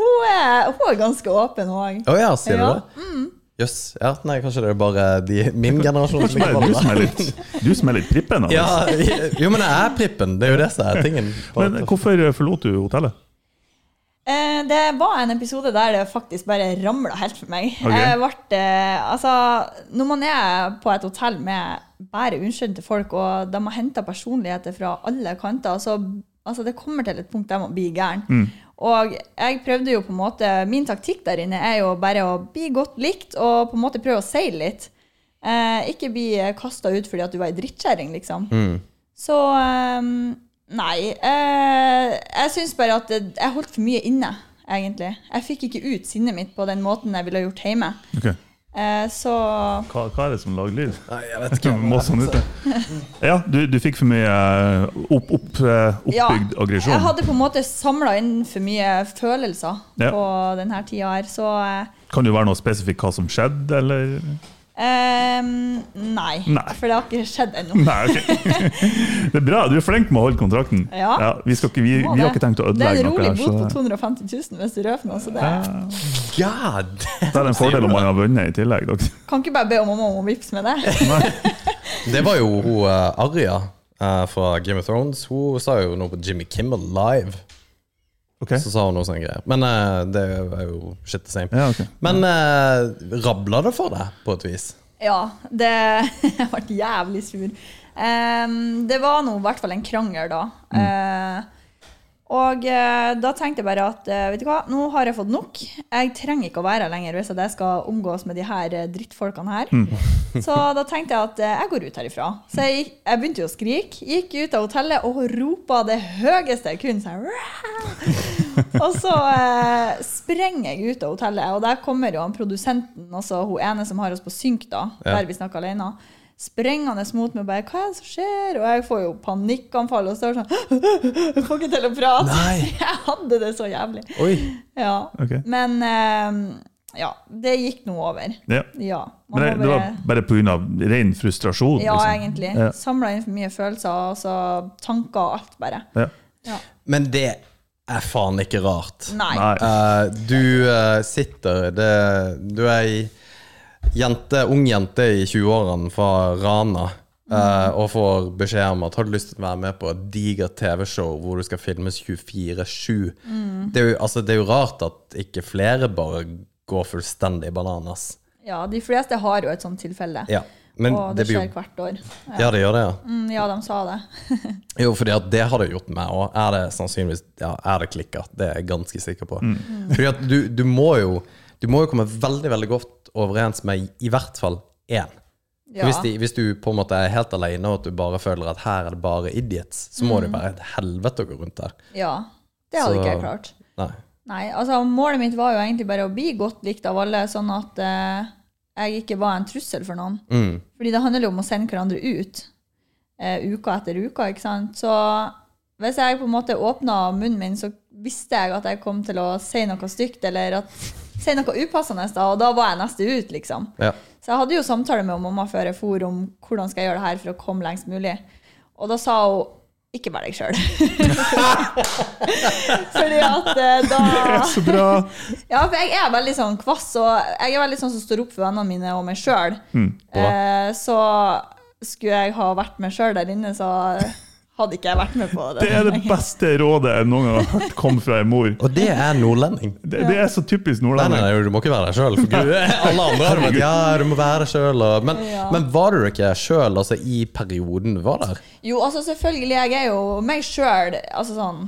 E: Hun er, hun er ganske åpen òg.
C: Å ja, sier du
E: Ja.
C: det? Jøss. Ja, nei, kanskje det er bare de, min generasjon som
D: Nei,
C: ikke var
D: Du
C: det.
D: som er litt, du som er litt prippen. Alex.
C: Ja, jo, men jeg er prippen. Det er jo det som er tingen.
D: Men eh, hvorfor forlot du hotellet?
E: Eh, Det var en episode der det faktisk bare ramla helt for meg.
D: Ok.
E: Jeg ble, eh, altså, når man er på et hotell med bare unnskyldte folk, og de har henta personligheter fra alle kanter, så altså, det kommer til et punkt der man blir gæren. Og jeg prøvde jo på en måte, Min taktikk der inne er jo bare å bli godt likt og på en måte prøve å seile litt. Eh, ikke bli kasta ut fordi at du var ei drittkjerring, liksom. Så ehm, Nei. eh, jeg syns bare at det- jeg holdt for mye inne, egentlig. Jeg fikk ikke ut sinnet mitt på den måten jeg ville gjort hjemme.
D: Ok.
E: Eh, så
D: Hva, hva er det som lager *laughs* lyd?
C: Nei, jeg vet ikke.
D: Må sånn ut, ja, du, du fikk for mye eh, opp, opp, eh,
E: ja,
D: oppbygd aggresjon.
E: jeg hadde på en måte samla inn for mye følelser
D: Ja.
E: på denne tida her, så eh,
D: Kan det være noe spesifikt hva som skjedde, eller?
E: ehm, nei,
D: Nei.
E: For det har ikke skjedd ennå.
D: Nei, ok. *laughs* Det er bra, du er flink med å holde kontrakten.
E: Ja.
D: vi, skal ikke, vi,
E: Må
D: vi har
E: det.
D: ikke tenkt å
E: Det er
D: ødelegge
E: en
D: noe
E: rolig
D: her.
E: bot på
D: Så
E: 250 000 hvis du røper noe, så det
C: God!
D: det er en fordel om man har vunnet i tillegg. dere.
E: kan ikke bare be mamma om å vippse med
D: *laughs*
E: det.
C: Det var jo hun eh, Arya eh, fra Game of Thrones. Hun sa jo noe på Jimmy Kimmel live.
D: Ok.
C: Så sa hun noe sånne greier. Men eh, det er jo shit the same.
D: Ja, ok.
C: Men uh, rabla det for deg, på et vis?
E: Ja, det *laughs* jeg ble jævlig sur. Ehm, det var nå i hvert fall en krangel, da. Eh, og eh, da tenkte jeg bare at eh, vet du hva, nå har jeg fått nok. Jeg trenger ikke å være her lenger hvis at jeg skal omgås med de her eh, drittfolkene her. så da tenkte jeg at eh, jeg går ut herifra. Så jeg, gikk, jeg begynte jo å skrike. Gikk ut av hotellet og ropa det høyeste jeg kunne. Sånn, og så eh, sprenger jeg ut av hotellet, og der kommer jo han produsenten, altså hun ene som har oss på synk, da,
C: Ja.
E: der vi snakker alene, sprengende mot meg og bare 'Hva er det som skjer?' Og jeg får jo panikkanfall og står sånn *laughs* Jeg får ikke til å prate.
C: Nei.
E: *laughs* Jeg hadde det så jævlig.
C: Oi.
E: Ja.
D: Ok.
E: Men eh, ja, det gikk nå over.
D: Ja.
E: Ja. man
D: Men det,
E: må
D: det var bare
E: bare-
D: pga. ren frustrasjon?
E: ja,
D: liksom.
E: egentlig.
D: Ja.
E: Samlet Samla inn for mye følelser, altså tanker og alt, bare.
D: Ja.
E: Ja.
C: Men det er faen ikke rart.
E: Nei.
D: Nei.
C: Eh, du eh, sitter det, Du er ei jente, ung jente i 20-årene fra Rana eh, og får beskjed om at har du lyst til å være med på et digert TV-show hvor du skal filmes 24-7. Det, er jo- altså, det er jo rart at ikke flere bare går fullstendig bananas.
E: Ja, de fleste har jo et sånt tilfelle.
C: Ja, men
E: og
C: det
E: det,
C: blir jo-
E: skjer hvert år.
C: Ja, det gjør det, ja.
E: Mm, ja, de sa det.
C: Jo, fordi at det har det gjort meg òg. Er det sannsynligvis ja, er det klikka? Det er jeg ganske sikker på.
E: Mm.
C: Fordi at du, du må jo Du må jo komme veldig veldig godt overens med i hvert fall én. For
E: Ja.
C: Hvis, de, hvis du på en måte er helt alene og at du bare føler at her er det bare idiots, så må
E: Mm.
C: det være et helvete å gå rundt der.
E: ja. Det hadde
C: Så-
E: ikke jeg klart.
C: Nei.
E: Nei, altså Målet mitt var jo egentlig bare å bli godt likt av alle, sånn at eh, jeg ikke var en trussel for noen.
C: Mm.
E: Fordi det handler jo om å sende hverandre ut eh, uka etter uka, ikke sant. Så hvis jeg på en måte åpna munnen min, så visste jeg at jeg kom til å si noe stygt, eller at si noe upassende, da, og da var jeg neste ut, liksom.
C: Ja.
E: Så jeg hadde jo samtale med mamma før jeg for om hvordan skal jeg gjøre det her for å komme lengst mulig. Og da sa hun ikke vær deg sjøl. *laughs* Fordi at eh, da
D: Så bra!
E: Ja, for jeg er veldig sånn kvass, og jeg er veldig sånn som står opp for vennene mine og meg sjøl.
D: Hm.
E: eh, så skulle jeg ha vært meg sjøl der inne, så hadde ikke jeg vært med på det.
D: Det er det
E: *laughs*
D: beste rådet jeg noen gang har hørt komme fra en mor.
C: Og det er nordlending.
D: Det, det er så typisk
C: Nei, nei,
D: nordlending. *laughs*
C: nei, du må ikke være deg sjøl. *laughs* Alle andre har vært ja, du må være deg sjøl. Men,
E: Ja.
C: men var du ikke sjøl altså, i perioden du var der?
E: Jo, altså selvfølgelig, jeg er jo meg sjøl. Altså sånn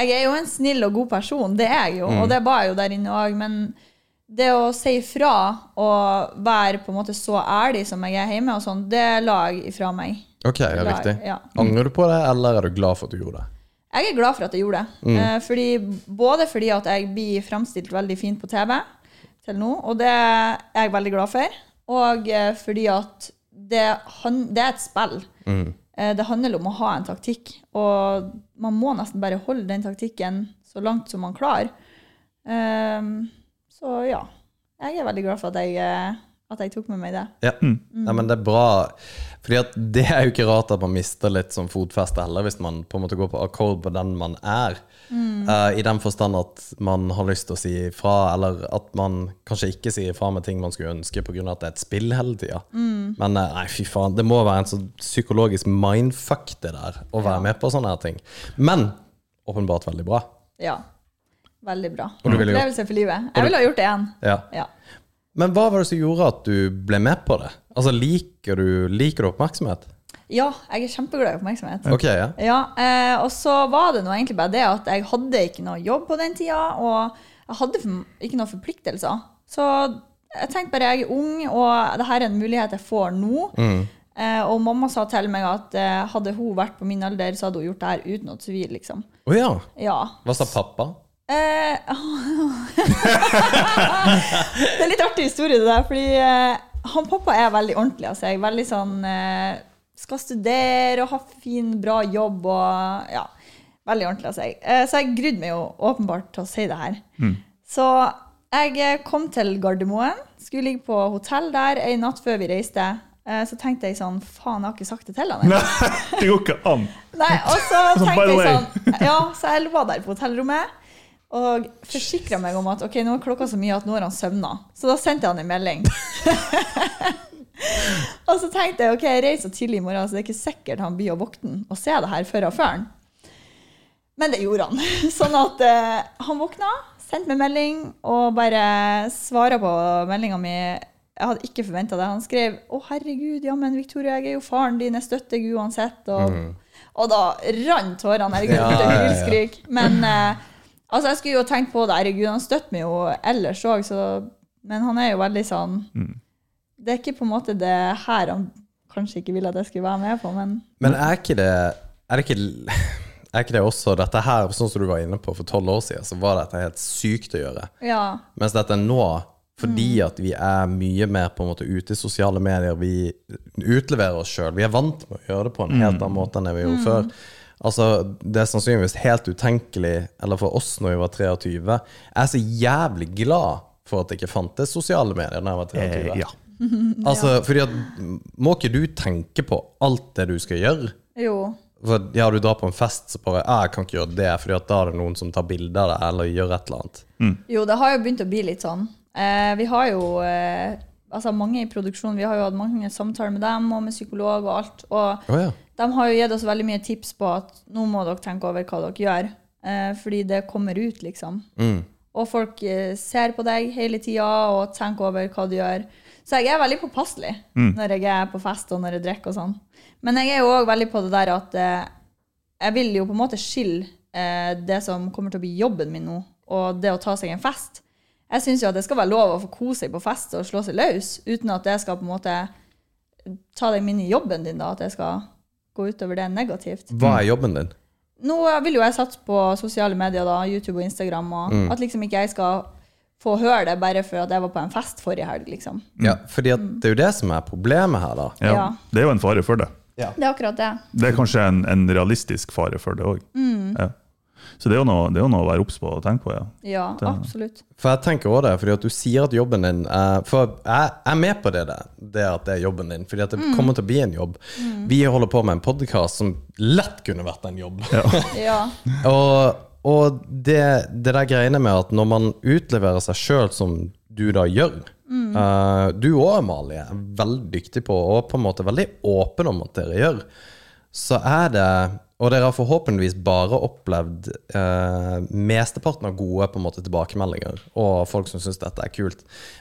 E: Jeg er jo en snill og god person, det er jeg jo,
D: Mm.
E: og det var jeg jo der inne òg, men det å si ifra og være på en måte så ærlig som jeg er hjemme, og sånn, det la jeg ifra meg.
C: Ok, ja,
E: La-
C: riktig.
E: ja.
C: Angrer du på det, eller er du glad for at du gjorde det?
E: Jeg er glad for at jeg gjorde det.
C: Mm.
E: Eh, fordi, både fordi at jeg blir framstilt veldig fint på TV til nå, og det er jeg veldig glad for. Og eh, fordi at det, han, det er et spill.
C: Mm.
E: Eh, det handler om å ha en taktikk. Og man må nesten bare holde den taktikken så langt som man klarer. Ehm, så ja. Jeg er veldig glad for at jeg, eh, at jeg tok med meg det.
C: Ja. Mm. Nei, men det er bra. Fordi at det er jo ikke rart at man mister litt sånn fotfeste heller, hvis man på en måte går på akkord på den man er. Eh, I den forstand at man har lyst til å si ifra, eller at man kanskje ikke sier ifra med ting man skulle ønske pga. at det er et spill hele tida. Men eh, nei, fy faen, det må være en sånn psykologisk mindfuck det der, å være med på sånne her ting. Men åpenbart veldig bra.
E: Ja. Veldig bra.
C: Og du ville gjort-
E: Opplevelse for livet. Jeg ville ha gjort det igjen.
C: Ja.
E: Ja.
C: Men hva var det som gjorde at du ble med på det? Altså, Liker du, liker du oppmerksomhet?
E: Ja, jeg er kjempeglad i oppmerksomhet.
C: Ok, ja.
E: Ja, eh, Og så var det nå egentlig bare det at jeg hadde ikke noe jobb på den tida, og jeg hadde for- ikke noen forpliktelser. Så jeg tenkte bare jeg er ung, og det her er en mulighet jeg får nå. Eh, og mamma sa til meg at eh, hadde hun vært på min alder, så hadde hun gjort det her uten noe tvil, liksom.
C: Å ja.
E: Ja.
C: Hva sa pappa?
E: Eh, *laughs* det er litt artig historie, det der. Fordi eh, han pappa er veldig ordentlig av seg. Veldig sånn eh, Skal studere og ha fin, bra jobb og Ja. Veldig ordentlig av seg. Eh, så jeg grudde meg jo åpenbart til å si det her. Så jeg eh, kom til Gardermoen. Skulle ligge på hotell der ei natt før vi reiste. Eh, så tenkte jeg sånn Faen, jeg har ikke sagt det til han ennå.
D: Nei, det går ikke an!
E: Nei, og
D: *laughs*
E: så
D: Sånn, by
E: tenkte
D: the
E: jeg
D: way.
E: sånn Ja, så jeg var der på hotellrommet og forsikra meg om at ok, nå er klokka så mye at nå har han søvna. Så da sendte jeg han en
D: *laughs*
E: melding. *laughs* og så tenkte jeg ok, jeg reiser så tidlig i morgen, så det er ikke sikkert han blir å våkne og se det her før og før han. Men det gjorde han. *laughs* Sånn at eh, han våkna, sendte meg melding og bare svara på meldinga mi. Jeg hadde ikke forventa det. Han skrev 'Å, herregud, ja, men Victoria, jeg er jo faren din. Jeg støtter deg uansett.' Og, og da rant tårene. Herregud,
C: Mm. Ja,
E: det
C: ja,
E: er
C: ja.
E: hylskrik. Men eh, altså, jeg skulle jo tenkt på det. Herregud, han støtter meg jo ellers òg, så Men han er jo veldig sånn
C: Mm.
E: Det er ikke på en måte det her han kanskje ikke ville at jeg skulle være med på, men
C: Men er ikke det Er det ikke, *laughs* er ikke det også dette her, sånn som du var inne på for tolv år siden, så var dette helt sykt å gjøre.
E: ja.
C: Mens dette nå, fordi
D: Mm.
C: at vi er mye mer på en måte ute i sosiale medier, vi utleverer oss sjøl. Vi er vant med å gjøre det på en
D: Mm.
C: helt annen måte enn det vi gjorde før. Altså, Det er sannsynligvis helt utenkelig, eller for oss når vi var 23. Jeg er så jævlig glad for at det ikke fantes sosiale medier da jeg var 23.
D: Eh, ja.
C: Altså, fordi at Må ikke du tenke på alt det du skal gjøre?
E: Jo.
C: For ja, du drar på en fest, så bare «Ah, 'Jeg kan ikke gjøre det', fordi at da er det noen som tar bilder av deg, eller gjør et eller annet.
E: Jo, det har jo begynt å bli litt sånn. Eh, vi har jo eh, altså mange i produksjonen, vi har jo hatt mange samtaler med dem og med psykolog og alt. Og
C: Å ja.
E: de har jo gitt oss veldig mye tips på at nå må dere tenke over hva dere gjør, eh, fordi det kommer ut, liksom. Og folk eh, ser på deg hele tida og tenker over hva du gjør. Så jeg er veldig påpasselig når jeg er på fest og når jeg drikker og sånn. Men jeg er jo òg veldig på det der at eh, jeg vil jo på en måte skille eh, det som kommer til å bli jobben min nå, og det å ta seg en fest. Jeg syns jo at det skal være lov å få kose seg på fest og slå seg løs, uten at det skal på en måte ta deg inn i jobben din, da, at det skal gå utover det negativt.
C: Hva
D: Mm.
C: er jobben din?
E: Nå vil jo jeg satse på sosiale medier, da, YouTube og Instagram, og
D: Mm.
E: at liksom ikke jeg skal få høre det bare for at jeg var på en fest forrige helg, liksom.
C: Ja, fordi at det er jo det som er problemet her, da.
D: Ja.
E: Ja.
D: Det er jo en fare for det.
E: Det er akkurat det.
D: Det er kanskje en, en realistisk fare for det òg.
E: Mm.
D: Ja. Så det er, jo noe, det er jo noe å være obs på og tenke på, ja.
E: Ja, absolutt.
C: For jeg tenker også det, fordi at du sier at jobben din er For jeg jeg er med på det, der, det at det er jobben din, fordi at det kommer til å bli en jobb. Vi holder på med en podkast som lett kunne vært en jobb.
E: *laughs* Ja.
C: *laughs* og og det, det der greiene med at når man utleverer seg sjøl, som du da gjør eh, Du òg, Amalie, er veldig dyktig på, og på en måte veldig åpen om at dere gjør. så er det Og dere har forhåpentligvis bare opplevd eh, mesteparten av gode på en måte, tilbakemeldinger og folk som syns dette er kult.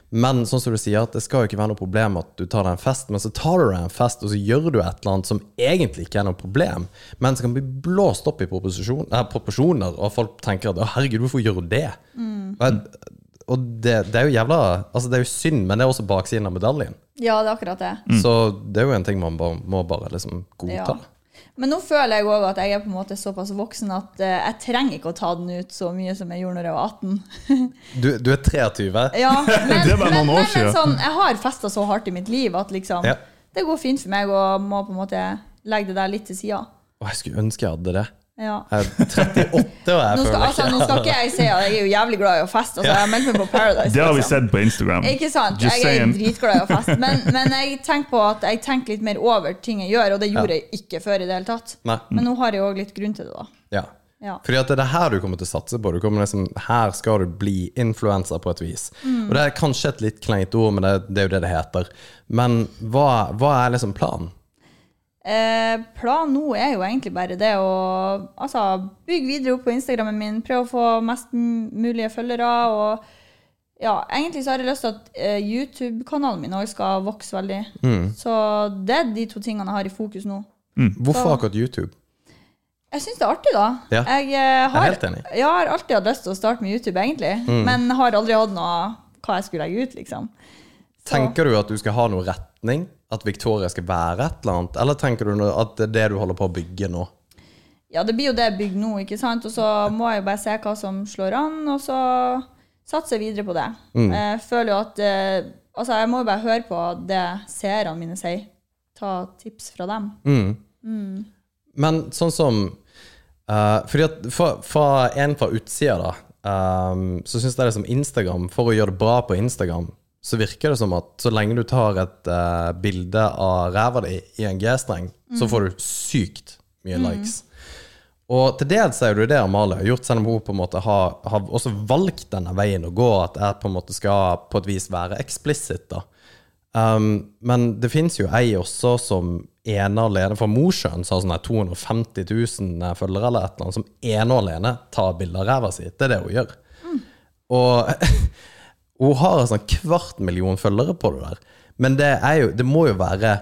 C: Men sånn som du sier, at det skal jo ikke være noe problem at du tar deg en fest, men så tar du deg en fest, og så gjør du et eller annet som egentlig ikke er noe problem, men som kan bli blåst opp i proposisjon- eh, proporsjoner, og folk tenker at 'Å, herregud, hvorfor gjør du det?'
E: Mm.
C: Og, og det, det er jo jævla Altså, det er jo synd, men det er også baksiden av medaljen.
E: ja, det er akkurat det.
C: Så det er jo en ting man bare, må bare liksom godta.
E: Men nå føler jeg òg at jeg er på en måte såpass voksen at eh, jeg trenger ikke å ta den ut så mye som jeg gjorde når jeg var
D: *laughs*
E: 18.
C: Du, du er 23.
E: ja, *laughs* men,
D: Det er bare
E: men,
D: noen år
E: men, men
D: siden.
E: sånn, jeg har festa så hardt i mitt liv at liksom
C: Ja.
E: Det går fint for meg å må på en måte legge det der litt til sida.
C: Å, jeg skulle ønske jeg hadde det.
E: Ja.
C: Jeg er 38 og jeg
E: Nå skal,
C: føler
E: altså, nå skal ikke jeg si at jeg er jo jævlig glad i å feste. Altså, jeg har meldt meg på Paradise.
D: Det har vi
E: liksom.
D: sett på Instagram.
E: Ikke sant?
D: Just
E: jeg er
D: saying.
E: dritglad i å feste. Men, men jeg tenker på at jeg tenker litt mer over ting jeg gjør, og det gjorde jeg ikke før i det hele tatt.
C: Nei.
E: Men nå har jeg òg litt grunn til det, da.
C: Ja.
E: Ja.
C: Fordi at det er det her du kommer til å satse på. Du kommer liksom, her skal du bli influenser på et vis. Og det er kanskje et litt kleint ord, men det, det er jo det det heter. Men hva, hva er liksom planen?
E: Eh, planen nå er jo egentlig bare det å altså, bygge videre opp på Instagrammen min, prøve å få mest m- mulige følgere. og ja, Egentlig så har jeg lyst til at eh, YouTube-kanalen min òg skal vokse veldig.
C: Mm.
E: Så det er de to tingene jeg har i fokus nå.
C: Hvorfor akkurat YouTube?
E: Jeg syns det er artig, da.
C: Ja.
E: Jeg, eh,
C: Jeg
E: har,
C: er helt enig. Mm.
E: Jeg har alltid hatt lyst til å starte med YouTube, egentlig. Men har aldri hatt noe hva jeg skulle legge ut, liksom. Så-
C: Tenker du at du skal ha noen retning? At Victoria skal være et eller annet? Eller tenker du nå at det er det du holder på å bygge nå?
E: Ja, det blir jo det bygd nå, ikke sant? Og så må jeg jo bare se hva som slår an, og så satser jeg videre på det.
C: Mm.
E: Jeg føler jo at eh, Altså, jeg må jo bare høre på det seerne mine sier. Ta tips fra dem.
C: Mm. Men sånn som eh, Fordi at for, for en fra utsida, da, ehm, så syns jeg det er som Instagram. For å gjøre det bra på Instagram, så virker det som at så lenge du tar et eh, bilde av ræva di i en G-streng, så får du sykt mye likes. Og til dels er det jo det Amalie har gjort, selv om hun på en måte har, har også valgt denne veien å gå, at jeg på en måte skal på et vis være eksplisitt, da. Um, men det finnes jo ei også som ene alene fra Mosjøen, som har sånn her 250 000 eh, følgere eller et eller annet, som ene alene tar bilde av ræva si. Det er det hun gjør. Og *laughs* hun har en sånn kvart million følgere på det der. Men det, er jo, det må jo være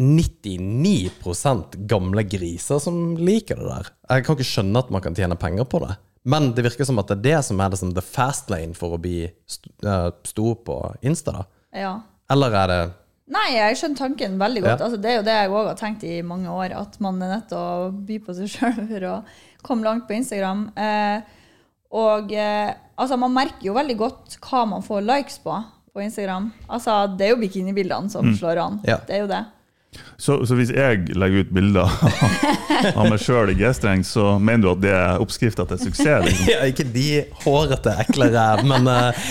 C: 99 gamle griser som liker det der. Jeg kan ikke skjønne at man kan tjene penger på det. Men det virker som at det er det som er det som the fast lane for å bli st eh, stor på Insta. da.
E: Ja.
C: Eller er det
E: Nei, jeg skjønner tanken veldig godt.
C: Ja.
E: Altså, det er jo det jeg òg har tenkt i mange år, at man er nødt til å by på seg *laughs* sjøl for å komme langt på Instagram. Eh, og eh, altså, man merker jo veldig godt hva man får likes på på Instagram. Altså, det er jo bikinibildene som slår an.
C: Mm. Ja.
E: Det er jo det.
D: Så, så hvis jeg legger ut bilder *laughs* av meg sjøl i G-streng, så mener du at det er oppskrifta til suksess? Liksom?
C: ja, Ikke de hårete, ekle ræv, men, eh,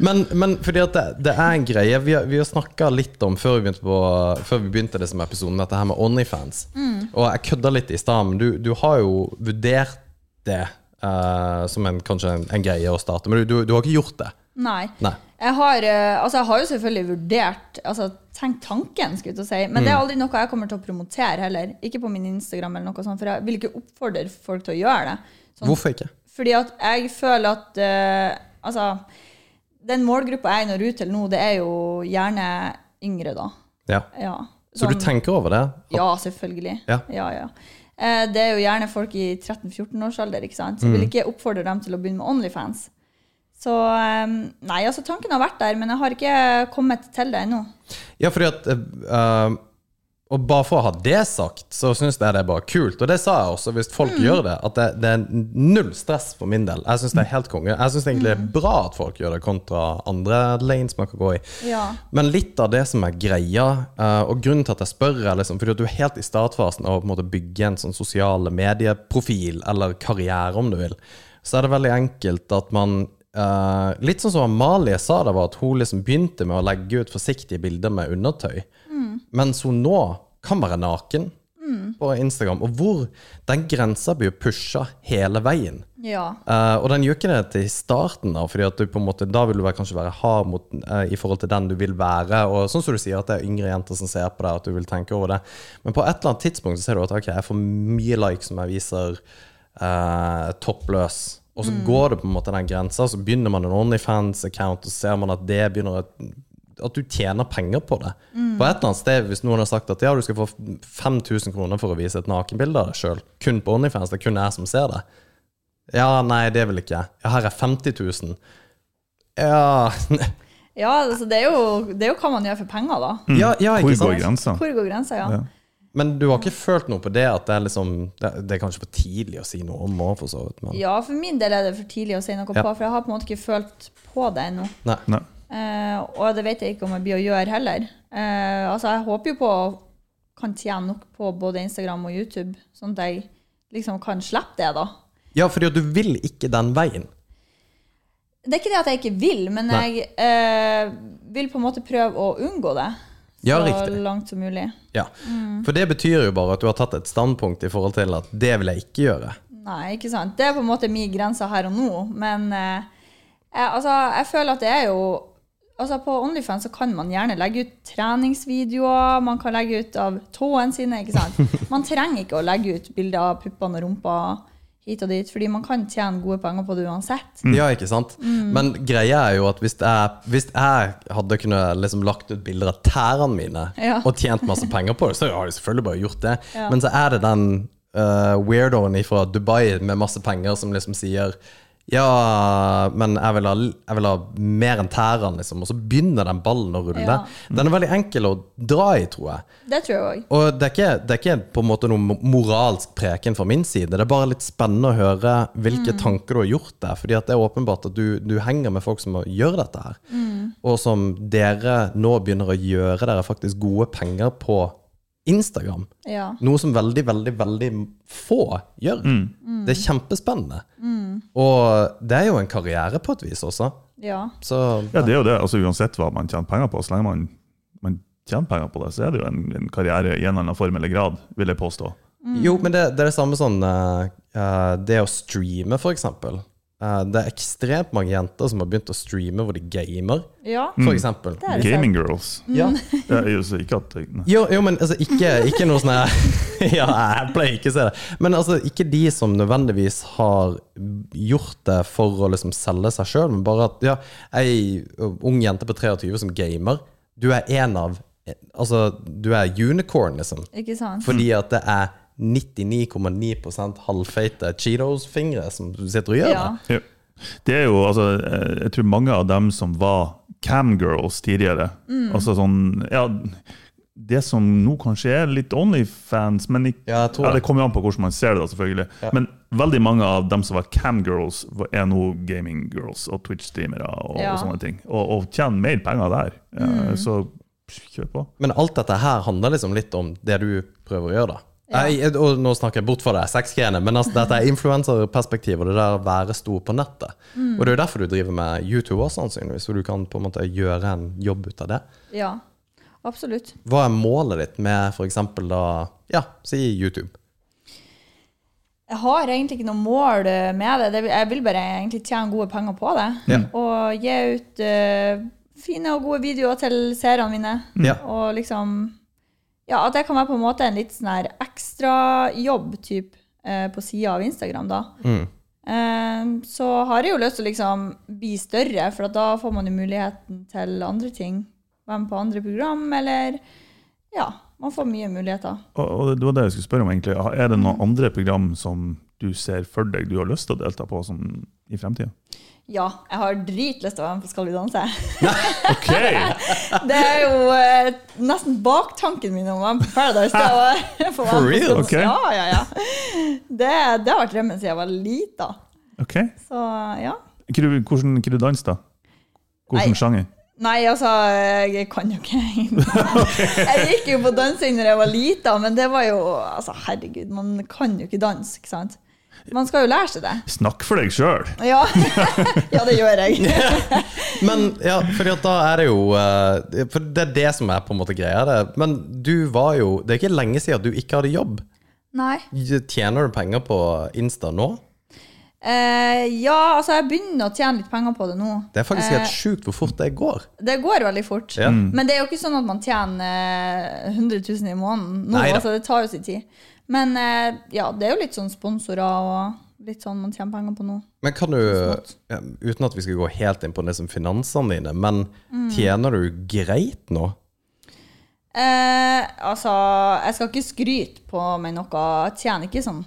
C: men, men fordi at det, det er en greie. Vi har, vi har snakka litt om før vi begynte, på, før vi begynte det som episoden, dette her med Onlyfans. Og jeg kødda litt i stad, men du, du har jo vurdert det eh, som en, kanskje en, en greie å starte, men du, du, du har ikke gjort det.
E: Nei.
C: Nei.
E: Jeg har, eh, altså, jeg har jo selvfølgelig vurdert altså, Tenkt tanken, skulle jeg til å si. Men det
C: Mm.
E: er aldri noe jeg kommer til å promotere heller. Ikke på min Instagram, eller noe sånt, for jeg vil ikke oppfordre folk til å gjøre det. Sånn
C: Hvorfor ikke?
E: Fordi at jeg føler at eh, Altså, den målgruppa jeg når ut til nå, det er jo gjerne yngre, da.
C: Ja.
E: Ja.
C: Så du
E: Sånn-
C: tenker over det?
E: Ja, selvfølgelig.
C: Ja.
E: ja, ja. Eh, det er jo gjerne folk i 13-14-årsalder, ikke sant. Jeg vil
C: Mm.
E: ikke oppfordre dem til å begynne med Onlyfans. Så eh, Nei, altså, tanken har vært der, men jeg har ikke kommet til det ennå.
C: Ja, fordi at eh, Og bare for å ha det sagt, så syns jeg det er bare kult. Og det sa jeg også, hvis folk gjør det, at det, det er null stress for min del. Jeg syns det er helt konge. Jeg syns egentlig det er bra at folk gjør det, kontra andre lanes man kan gå i.
E: Ja.
C: Men litt av det som er greia, eh, og grunnen til at jeg spør, er liksom fordi at du er helt i startfasen av å på en måte bygge en sånn sosiale medieprofil, eller karriere om du vil, så er det veldig enkelt at man eh, Litt sånn som Amalie sa det, var at hun liksom begynte med å legge ut forsiktige bilder med undertøy, mens hun nå kan være naken. På Instagram, og hvor den grensa blir pusha hele veien.
E: Ja.
C: Eh, og den gjør ikke det til starten, da, fordi at du på en måte, da vil du være, kanskje være hard mot, eh, i forhold til den du vil være. Og sånn som du sier, at det er yngre jenter som ser på deg, at du vil tenke over det. Men på et eller annet tidspunkt så ser du at ok, jeg får mye likes som jeg viser eh, toppløs. Og så går det på en måte den grensa, så begynner man en OnlyFans-account, og så ser man at det begynner å at du tjener penger på det. På et eller annet sted, Hvis noen har sagt at ja, du skal få 5000 kroner for å vise et nakenbilde av deg sjøl, kun på OnlyFans, det er kun jeg som ser det. Ja, nei, det vil ikke jeg. Ja, her er 50 000. Ja, *laughs*
E: ja altså, det, er jo, det er jo hva man gjør for penger, da.
C: ja, ja *laughs*
D: Hvor
C: ikke
D: går
C: sant?
D: grensa?
E: Hvor går grensa, ja.
D: Ja.
C: Men du har ikke følt noe på det at det er liksom Det, det er kanskje for tidlig å si noe om òg, for så vidt. Men
E: Ja, for min del er det for tidlig å si noe
C: Ja.
E: på, for jeg har på en måte ikke følt på det ennå.
C: nei.
D: Nei.
E: Eh, og det vet jeg ikke om jeg blir å gjøre heller. Eh, altså, jeg håper jo på å kan tjene nok på både Instagram og YouTube, sånn at jeg liksom kan slippe det, da.
C: Ja, fordi at du vil ikke den veien.
E: Det er ikke det at jeg ikke vil, men
C: Nei.
E: jeg eh, vil på en måte prøve å unngå det.
C: Ja,
E: så
C: riktig.
E: langt som mulig.
C: Ja. For det betyr jo bare at du har tatt et standpunkt i forhold til at det vil jeg ikke gjøre.
E: Nei, ikke sant. Det er på en måte min grense her og nå, men eh, jeg, altså, jeg føler at det er jo Altså, på OnlyFans så kan man gjerne legge ut treningsvideoer, man kan legge ut av tåene sine, ikke sant. Man trenger ikke å legge ut bilder av puppene og rumpa hit og dit, fordi man kan tjene gode penger på det uansett.
C: Ja, ikke sant?
E: Mm.
C: Men greia er jo at hvis jeg, hvis jeg hadde kunnet liksom lagt ut bilder av tærne mine
E: Ja.
C: og tjent masse penger på det, så har jeg selvfølgelig bare gjort det. Men så er det den eh, weirdoen fra Dubai med masse penger som liksom sier Ja, men jeg vil ha, jeg vil ha mer enn tærene, liksom. Og så begynner den ballen å rulle.
E: Ja.
C: Den er veldig enkel å dra i, tror jeg.
E: Det tror jeg òg.
C: Og det er, ikke, det er ikke på en måte noen mo- moralsk preken fra min side. Det er bare litt spennende å høre hvilke tanker du har gjort deg. Fordi at det er åpenbart at du, du henger med folk som gjør dette her. Og som dere nå begynner å gjøre dere faktisk gode penger på Instagram.
E: Ja.
C: Noe som veldig, veldig, veldig få gjør. Det er kjempespennende. Og det er jo en karriere på et vis også.
E: ja.
C: Så
D: Ja, det er jo det. Altså, uansett hva man tjener penger på, så lenge man, man tjener penger på det, så er det jo en, en karriere i en eller annen form eller grad, vil jeg påstå.
C: Jo, men det, det er det samme sånn eh, eh, Det å streame, for eksempel. Eh, det er ekstremt mange jenter som har begynt å streame hvor de gamer,
E: ja.
C: for eksempel.
E: Det er det sant.
D: Gaming girls.
C: Ja.
D: Det er jo så ikke at nei.
C: Jo, jo, men altså, ikke, ikke noe sånn her *laughs* Ja, jeg pleier ikke å se det. Men altså, ikke de som nødvendigvis har gjort det for å liksom selge seg sjøl, men bare at ja, ei ung jente på 23 som gamer, du er en av Altså, du er unicorn, liksom.
E: Ikke sant?
C: Fordi at det er 99,9 halvfeite Cheetos-fingre som sitter og gjør
E: Ja.
C: det.
D: Jo. Det er jo, altså, eh, jeg tror mange av dem som var camgirls tidligere,
C: Mm.
D: altså sånn, ja, det som nå kanskje er litt Onlyfans, men ikke,
C: Ja, jeg tror det.
D: det kommer jo an på hvordan man ser det da, selvfølgelig. Men veldig mange av dem som var camgirls, var- er nå gaminggirls og Twitch-streamere og,
E: Ja.
D: og sånne ting, og, og tjener mer penger der. Eh,
C: Mm.
D: Så kjør på.
C: Men alt dette her handler liksom litt om det du prøver å gjøre, da. Jeg, og nå snakker jeg bort fra det, sexgreiene, men altså, dette er influenserperspektiv og det der å være stor på nettet. Og det er jo derfor du driver med YouTube også, sannsynligvis, for du kan på en måte gjøre en jobb ut av det.
E: Ja. Absolutt.
C: Hva er målet ditt med f.eks. da Ja, si YouTube.
E: Jeg har egentlig ikke noe mål eh, med det. det. vil- Jeg vil bare egentlig tjene gode penger på det.
C: Ja.
D: Mm.
E: Og gi ut eh, fine og gode videoer til seerne mine.
C: Ja.
E: Og liksom Ja, at det kan være på en måte en litt sånn her ekstrajobb uh, på sida av Instagram, da.
C: Mm.
E: Eh, så har jeg jo lyst til å liksom bli større, for at da får man jo muligheten til andre ting. Være med på andre program, eller Ja. Man får mye muligheter.
D: Og, og det var det jeg skulle spørre om egentlig. Er det noen andre program som du ser for deg du har lyst til å delta på som, i fremtiden?
E: Ja, jeg har dritlyst til å være med på Skal vi danse.
D: Ok!
E: *laughs* Det er jo eh, nesten baktanken min om å være med på Paradise. Det var,
D: *laughs*
E: For
D: real? Ok.
E: Ja, ja, ja. Det, det har vært drømmen siden jeg var lita.
D: ok.
E: Så ja.
D: Hva du- Hvordan hva du dans da?
E: Nei.
D: Hvordan sjanger?
E: Nei, altså, jeg kan jo
D: *laughs*
E: ikke *laughs* Jeg gikk jo på dansing når jeg var lita, men det var jo Altså, herregud, man kan jo ikke danse, ikke sant? Man skal jo lære seg det.
D: Snakk for deg sjøl!
E: Ja, *laughs* ja det
D: *laughs*
E: gjør jeg.
C: Men ja, fordi at da er det jo eh, For det er det som er på en måte greia. Det. Men du var jo Det er ikke lenge siden du ikke hadde jobb.
E: Nei.
C: Tjener du penger på Insta nå?
E: Eh, ja, altså, jeg begynner å tjene litt penger på det nå.
C: Det er faktisk helt sjukt hvor fort det går.
E: Det går veldig fort.
C: Ja. Mm.
E: Men det er jo ikke sånn at man tjener eh, 100 000 i måneden. Nå,
C: Neida.
E: altså, det tar jo sin tid. Men eh, ja, det er jo litt sånn sponsorer og litt sånn man tjener penger på nå.
C: Men kan du, ja, uten at vi skal gå helt inn på det som finansene dine, men tjener du greit nå?
E: Eh, altså, jeg skal ikke skryte på meg noe. Jeg tjener ikke sånn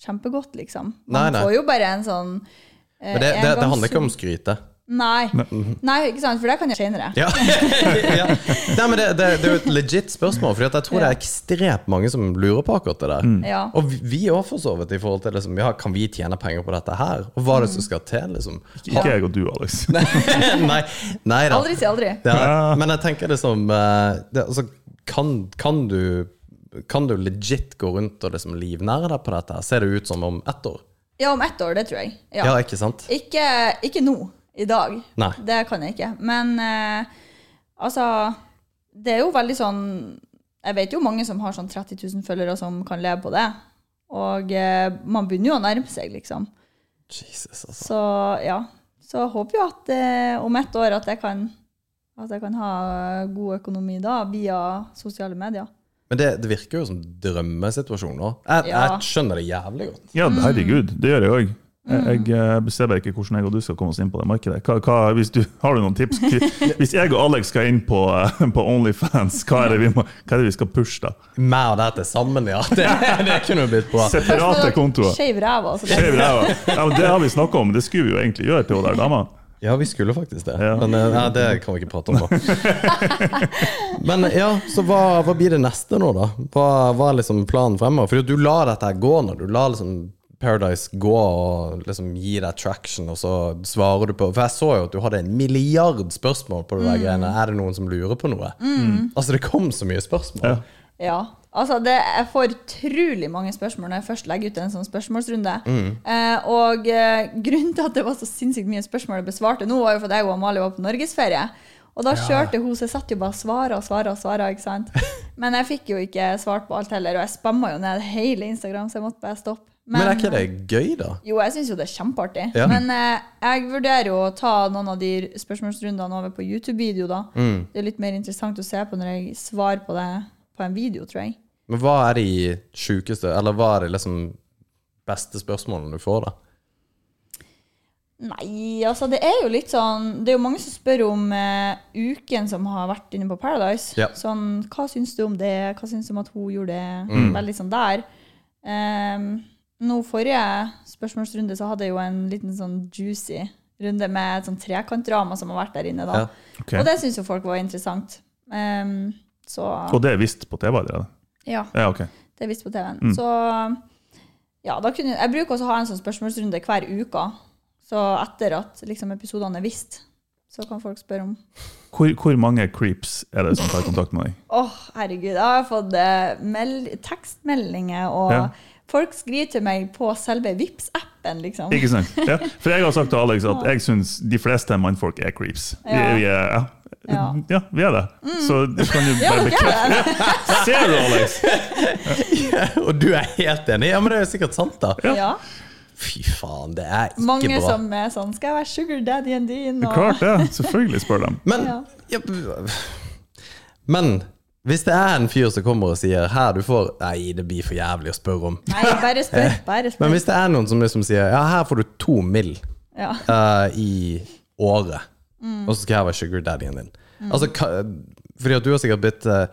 E: kjempegodt, liksom. Man
C: Nei, nei.
E: får jo bare en sånn eh,
C: Men det, det, det
E: engangssum.
C: handler ikke om skryte.
E: Nei. nei, ikke sant, for det kan jeg senere.
C: Ja. *laughs* ja. Nei, men det, det, det er jo et legit spørsmål, for jeg tror det er ekstremt mange som lurer på akkurat det der.
E: Ja.
C: Og vi- vi òg, for så vidt, i forhold til liksom, ja, kan vi tjene penger på dette her? Og hva er det som skal til, liksom? *laughs*
D: Ikke jeg og du,
E: *laughs*
D: Alex.
C: nei, nei da.
E: Aldri si aldri.
C: Ja, men jeg tenker liksom eh, det, altså, kan, kan, du, kan du legit gå rundt og liksom livnære deg på dette? her? Ser det ut som om ett år?
E: Ja, om ett år, det tror jeg.
C: Ja, ikke sant?
E: Ikke, ikke nå, i dag.
C: Nei.
E: Det kan jeg ikke. Men eh, altså Det er jo veldig sånn Jeg vet jo mange som har sånn 30 000 følgere som kan leve på det. Og eh, man begynner jo å nærme seg, liksom.
C: Jesus, altså.
E: Så ja. Så jeg håper jo at eh, om ett år at jeg kan at jeg kan ha god økonomi da, via sosiale medier.
C: Men det, det virker jo som drømmesituasjon nå. Jeg,
E: Ja.
C: jeg skjønner det jævlig godt.
D: Ja, herregud, det gjør jeg òg.
E: Mm.
D: Jeg, jeg eh, ser bare ikke hvordan jeg og du skal komme oss inn på det markedet. Hva, hva, hvis du, har du noen
E: *laughs*
D: tips? Hvis jeg og Alex skal inn på, eh, på Onlyfans, hva er, det vi må, hva er det vi skal pushe da?
C: Meg og deg til sammen, ja. Det, det kunne jo blitt bra.
D: Separate kontoer.
E: Skeiv ræv, altså.
D: Skjev ræva. Ja, men det har vi snakka om, det skulle vi jo egentlig gjøre til hun der dama.
C: Ja, vi skulle faktisk det.
D: Ja.
C: Men eh, nei, det kan vi ikke prate
D: *laughs*
C: om nå. Men ja, så hva, hva blir det neste nå, da? Hva, hva er liksom planen fremover? For du lar dette her gå når du lar liksom Paradise gå og liksom gi deg traction, og så svarer du på For jeg så jo at du hadde en milliard spørsmål på det
D: Mm.
C: der greiene. Er det noen som lurer på noe? Altså, det kom så mye spørsmål.
D: Ja.
E: Ja. Altså, det, jeg får utrolig mange spørsmål når jeg først legger ut en sånn spørsmålsrunde.
C: Mm.
E: Eh, og eh, grunnen til at det var så sinnssykt mye spørsmål jeg besvarte nå, var jo for at jeg og Amalie var på norgesferie. Og da kjørte hun, så jeg satt jo bare og svara og svara og svara. Ikke
C: *laughs*
E: sant? Men jeg fikk jo ikke svart på alt heller, og jeg spamma jo ned hele Instagram, så jeg måtte bare stoppe.
C: Men, er ikke det gøy, da?
E: Jo, jeg syns jo det er kjempeartig.
C: Ja.
E: Men eh, jeg vurderer jo å ta noen av de spørsmålsrundene over på YouTube-video, da.
C: Mm.
E: Det er litt mer interessant å se på når jeg svarer på det på en video, tror jeg.
C: Men hva er de sjukeste, eller hva er de liksom beste spørsmålene du får, da?
E: Nei, altså det er jo litt sånn Det er jo mange som spør om eh, uken som har vært inne på Paradise.
C: Ja.
E: Sånn, hva syns du om det? Hva syns du om at hun gjorde det?
C: Mm.
E: Veldig sånn der. Ehm, nå forrige spørsmålsrunde så hadde jeg jo en liten sånn juicy runde med et sånn trekantdrama som har vært der inne, da.
C: Ja.
D: Ok.
E: Og det syns jo folk var interessant. Ehm, så
D: Og det er visst på TV allerede?
E: ja.
D: Ja, ok.
E: Det er visst på TV-en.
D: Mm.
E: Så ja, da kunne, jeg bruker også å ha en sånn spørsmålsrunde hver uke. Så etter at liksom, episodene er visst, så kan folk spørre om
D: Hvor, hvor mange creeps er det som tar kontakt med deg?
E: Å, herregud, jeg har fått eh, meld tekstmeldinger, og
D: Ja.
E: folk skriver til meg på selve vips appen liksom.
D: Ikke sant? Ja. For jeg har sagt til Alex at jeg syns de fleste mannfolk er creeps. Vi,
E: Ja.
D: vi er, ja.
E: Ja. Mm.
D: ja, vi er det. Så du kan jo
E: *laughs* Ja,
D: bare bekrefte
E: dere er det.
D: Ser du, Alex?
C: *laughs* Og du er helt enig? Ja, men det er jo sikkert sant, da.
E: Ja.
C: Fy faen, det er ikke
E: Mange
C: bra.
E: som er sånn Skal jeg være sugar daddy-en din? Og,
D: Klart det. Selvfølgelig spør dem.
C: Men,
E: Ja.
C: ja. b- men hvis det er en fyr som kommer og sier 'her, du får' Nei, det blir for jævlig å spørre om.
E: Nei, bare spør. Bare
C: Men
E: spør.
C: hvis det er noen som liksom sier 'ja, her får du to mill.
E: Ja.
C: eh, i året',
E: Mm.
C: og så skal jeg være sugar daddyen din Altså, ka- Fordi at du har sikkert blitt eh,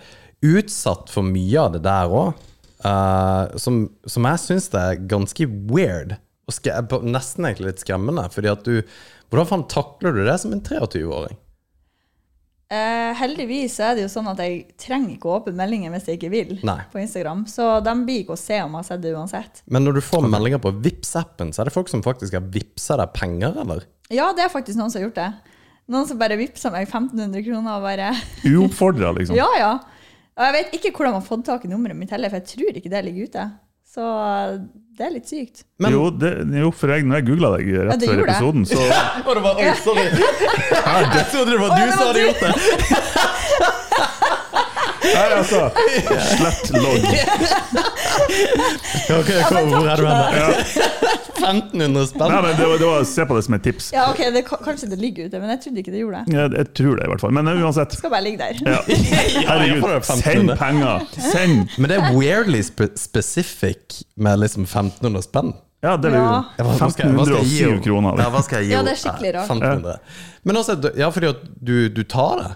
C: utsatt for mye av det der òg, som, som jeg syns det er ganske weird. Og ske- på- nesten egentlig litt skremmende. Fordi at du, Hvordan faen takler du det som en 23-åring?
E: Eh, heldigvis så er det jo sånn at jeg trenger ikke å åpne meldinger hvis jeg ikke vil.
C: Nei.
E: på Instagram, Så de blir ikke å se om jeg har sett det uansett.
C: Men når du får meldinger på Vipps-appen, så er det folk som faktisk har vippsa deg penger, eller?
E: Ja, det er faktisk noen som har gjort det. Noen som bare vippsa meg 1500 kroner og bare
D: Uoppfordra, liksom.
E: Ja, ja. Og jeg vet ikke hvordan man har fått tak i nummeret mitt heller, for jeg tror ikke det ligger ute. Så eh, det er litt sykt.
C: Men-
D: jo, det, jo, for jeg, når jeg googla deg
E: Ja,
D: rett
E: det
D: før
E: gjorde jeg.
D: episoden, så
E: *laughs*
C: Og det var Oi, sorry! Jeg trodde det var
E: Å, det var du.
C: det!
D: Nei, altså. Slett logg.
C: Ok, hvor- hvor er du hen?
D: Ja.
C: 1500
D: Nei,
C: spenn?
D: men det var, det var, se på det som et tips.
E: Ja, ok, det, ka- Kanskje det ligger ute, men jeg trodde ikke det gjorde det.
D: Jeg, jeg tror det, i hvert fall. Men eh, uansett.
E: Skal bare ligge *laughs* der.
D: Ja.
C: jeg får
D: Herregud,
C: det
D: send
C: 1500.
D: penger! Send!
C: Men det er weirdly spe specific med liksom 1500 spenn.
D: Ja, det blir
E: Ja.
C: Ja, hva- hva skal jeg- hva skal jeg gi
D: 1507
C: henne?
D: kroner. liksom.
C: Ja,
D: det.
C: hva skal jeg gi
E: Ja, det er
C: henne?
E: skikkelig rart.
C: 1500. Men også, ja, fordi at du, du tar det.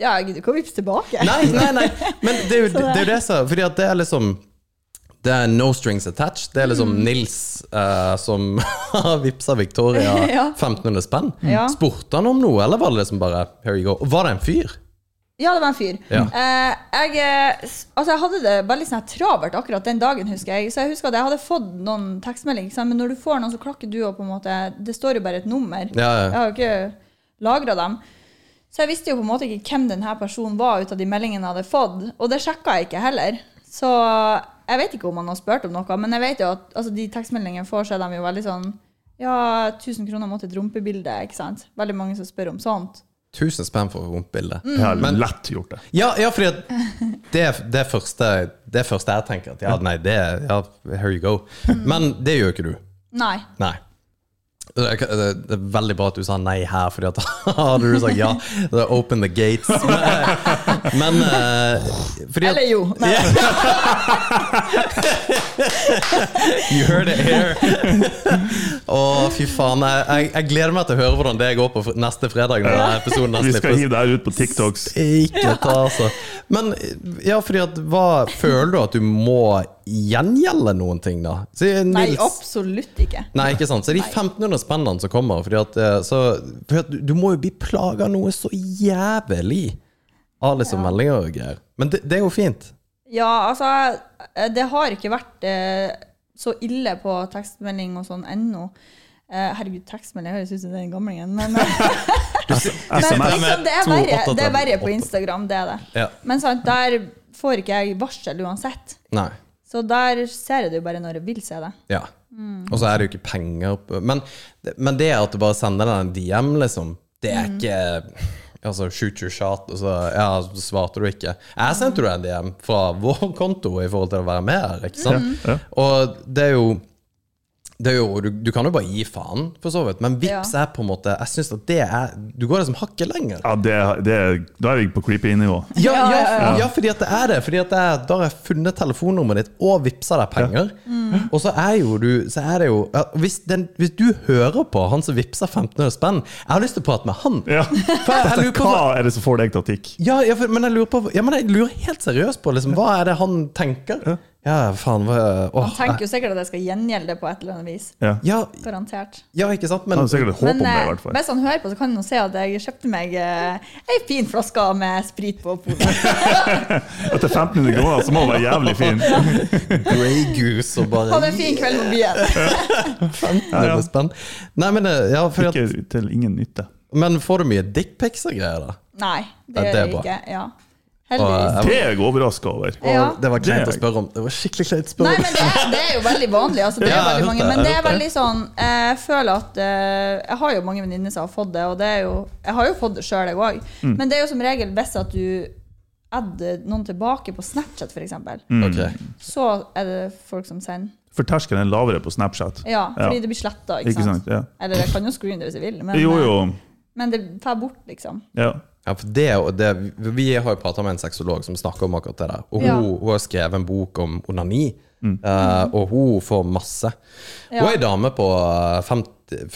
E: Ja, jeg gidder ikke å vippse tilbake.
C: Nei, nei, nei. Men det er jo det, er jo det som Fordi at det er liksom Det er no strings attached. Det er liksom
E: Mm.
C: Nils eh, som *laughs* har vippsa Victoria
E: *laughs* Ja.
C: 1500 spenn.
E: Ja.
C: Spurte han om noe, eller var det liksom bare Here you go. Og Var det en fyr?
E: Ja, det var en fyr.
C: Ja.
E: Eh, jeg, eh, s- altså, jeg hadde det veldig sånn her travelt akkurat den dagen, husker jeg. Så jeg husker at jeg hadde fått noen tekstmeldinger, ikke sant? men når du får noen, så klakker du og på en måte Det står jo bare et nummer.
C: Ja,
E: Jeg
C: ja.
E: har jo ikke lagra dem. Så jeg visste jo på en måte ikke hvem denne personen var ut av de meldingene jeg hadde fått, og det sjekka jeg ikke heller. Så jeg vet ikke om han har spurt om noe, men jeg vet jo at altså, de tekstmeldingene jeg får, så er de jo veldig sånn Ja, 1000 kroner må til et rumpebilde, ikke sant? Veldig mange som spør om sånt.
C: Tusen spenn for rumpebildet.
E: Mm.
D: Jeg har
C: Men-
D: lett gjort det.
C: Ja, ja, fordi at det, det, første, det første jeg tenker at Ja, nei, det Ja, here you go. Men det gjør ikke du.
E: Nei.
C: Nei. Det er- det er veldig bra at du sa nei her, Fordi at *laughs* hadde du sagt ja, da open the gates. Men, eh, fordi at,
E: Eller jo. Nei.
C: You heard it here. Å, fy faen. Jeg, jeg, jeg gleder meg til å høre hvordan det går på fr- neste fredag. Når denne episoden her
D: Vi skal
C: slippes.
D: hive det her ut på TikToks.
C: Ikke ta, altså. Men ja, fordi at hva Føler du at du må gjengjelde noen ting, da? Så,
E: Nei,
C: Nils-
E: absolutt ikke.
C: Nei, ikke sant. Så de 1500 spennene som kommer fordi at, eh, så, fordi at du- Du må jo bli plaga noe så jævlig av liksom meldinger og greier. Men det, det er jo fint.
E: Ja, altså, det har ikke vært eh, så ille på tekstmelding og sånn ennå. Eh, herregud, tekstmelding høres ut som den gamlingen, men, men
D: SMS.
E: liksom, det, er
C: To,
E: verre,
C: åtte,
E: det er verre på
C: åtte.
E: Instagram, det er det.
C: Ja.
E: Men sant, der får ikke jeg varsel uansett.
C: Nei.
E: Så der ser jeg det jo bare når jeg vil se det.
C: Ja. Og så er det jo ikke penger på- Men, men det at du bare sender den en DM, liksom, det er ikke Altså, shoot your shot, og så ja, så svarte du ikke. Jeg sendte jo deg en DM fra vår konto i forhold til å være med her, ikke sant?
D: Ja.
C: Og det er jo det er jo, du, du kan jo bare gi faen, for så vidt, men vips er på en måte Jeg synes at det er Du går liksom hakket lenger.
D: Ja, det, det, da er vi på creepy nivå.
C: Ja, ja,
E: Ja, ja,
C: ja, fordi at det er det. Fordi at det er, Da har jeg funnet telefonnummeret ditt og vippsa deg penger.
E: Mm.
C: Og så er jo du så er det jo, ja, hvis, den, hvis du hører på han som vippser 1500 spenn, jeg har lyst til å prate med han.
D: Ja.
C: For jeg, jeg lurer på
D: Hva er det som får deg til å tikke?
C: ja, ja, for, men jeg lurer på Ja, men jeg lurer helt seriøst på liksom, hva er det han tenker. Ja, faen hva,
E: Han
C: åh,
E: tenker jo sikkert at jeg skal gjengjelde det på et eller annet vis.
D: Ja.
C: jeg- ja,
E: Garantert.
C: ja, ikke sant? Men
D: Han har sikkert et håp om
E: Men
D: det, i
E: eh,
D: hvert fall.
E: hvis han hører på, så kan han jo se at jeg kjøpte meg eh, ei fin flaske med sprit på polet.
D: Etter 1500 kroner så må han være
C: *laughs*
D: jævlig fin.
C: Grey Goose og
E: *laughs* Ha
C: bare
E: en fin kveld på byen.
C: 1500 spenn. Nei, men, eh, ja, fordi at,
D: Ikke til ingen nytte.
C: men får du mye dickpics og greier, da?
E: Nei,
C: Ja,
E: det
C: det
E: gjør
C: er
E: jeg
C: bra.
E: ikke. Ja.
C: Og,
E: Heldigvis.
D: Det er jeg overraska over.
E: Ja.
C: Og det var kleint å
D: Det-
C: spørre om. Det var skikkelig kleint å
E: Nei,
C: spørre om.
E: men det, er- det er jo veldig vanlig. Altså, det
C: Ja, jeg
E: er
C: har
E: veldig
C: hørt
E: mange,
C: det,
E: men det
C: jeg har
E: er
C: hørt
E: veldig sånn eh, Jeg føler at eh, Jeg har jo mange venninner som har fått det, og det er jo, jeg har jo fått det sjøl, jeg òg.
C: Mm.
E: Men det er jo som regel hvis at du adder noen tilbake på Snapchat, f.eks.,
C: Ok.
E: så er det folk som sender.
D: For terskelen er lavere på Snapchat.
E: Ja, fordi
D: Ja.
E: det blir sletta, ikke,
D: Ikke sant?
E: sant?
D: Ja.
E: Eller jeg kan jo screene det hvis jeg vil, men, eh,
D: Jo, jo.
E: men det tar bort, liksom.
D: Ja.
C: Ja, for det, er jo- det, vi har jo prata med en sexolog som snakker om akkurat det der. Og hun,
E: Ja.
C: hun har skrevet en bok om onani, eh, og hun får masse. Hun er ei dame på eh, 50 40-50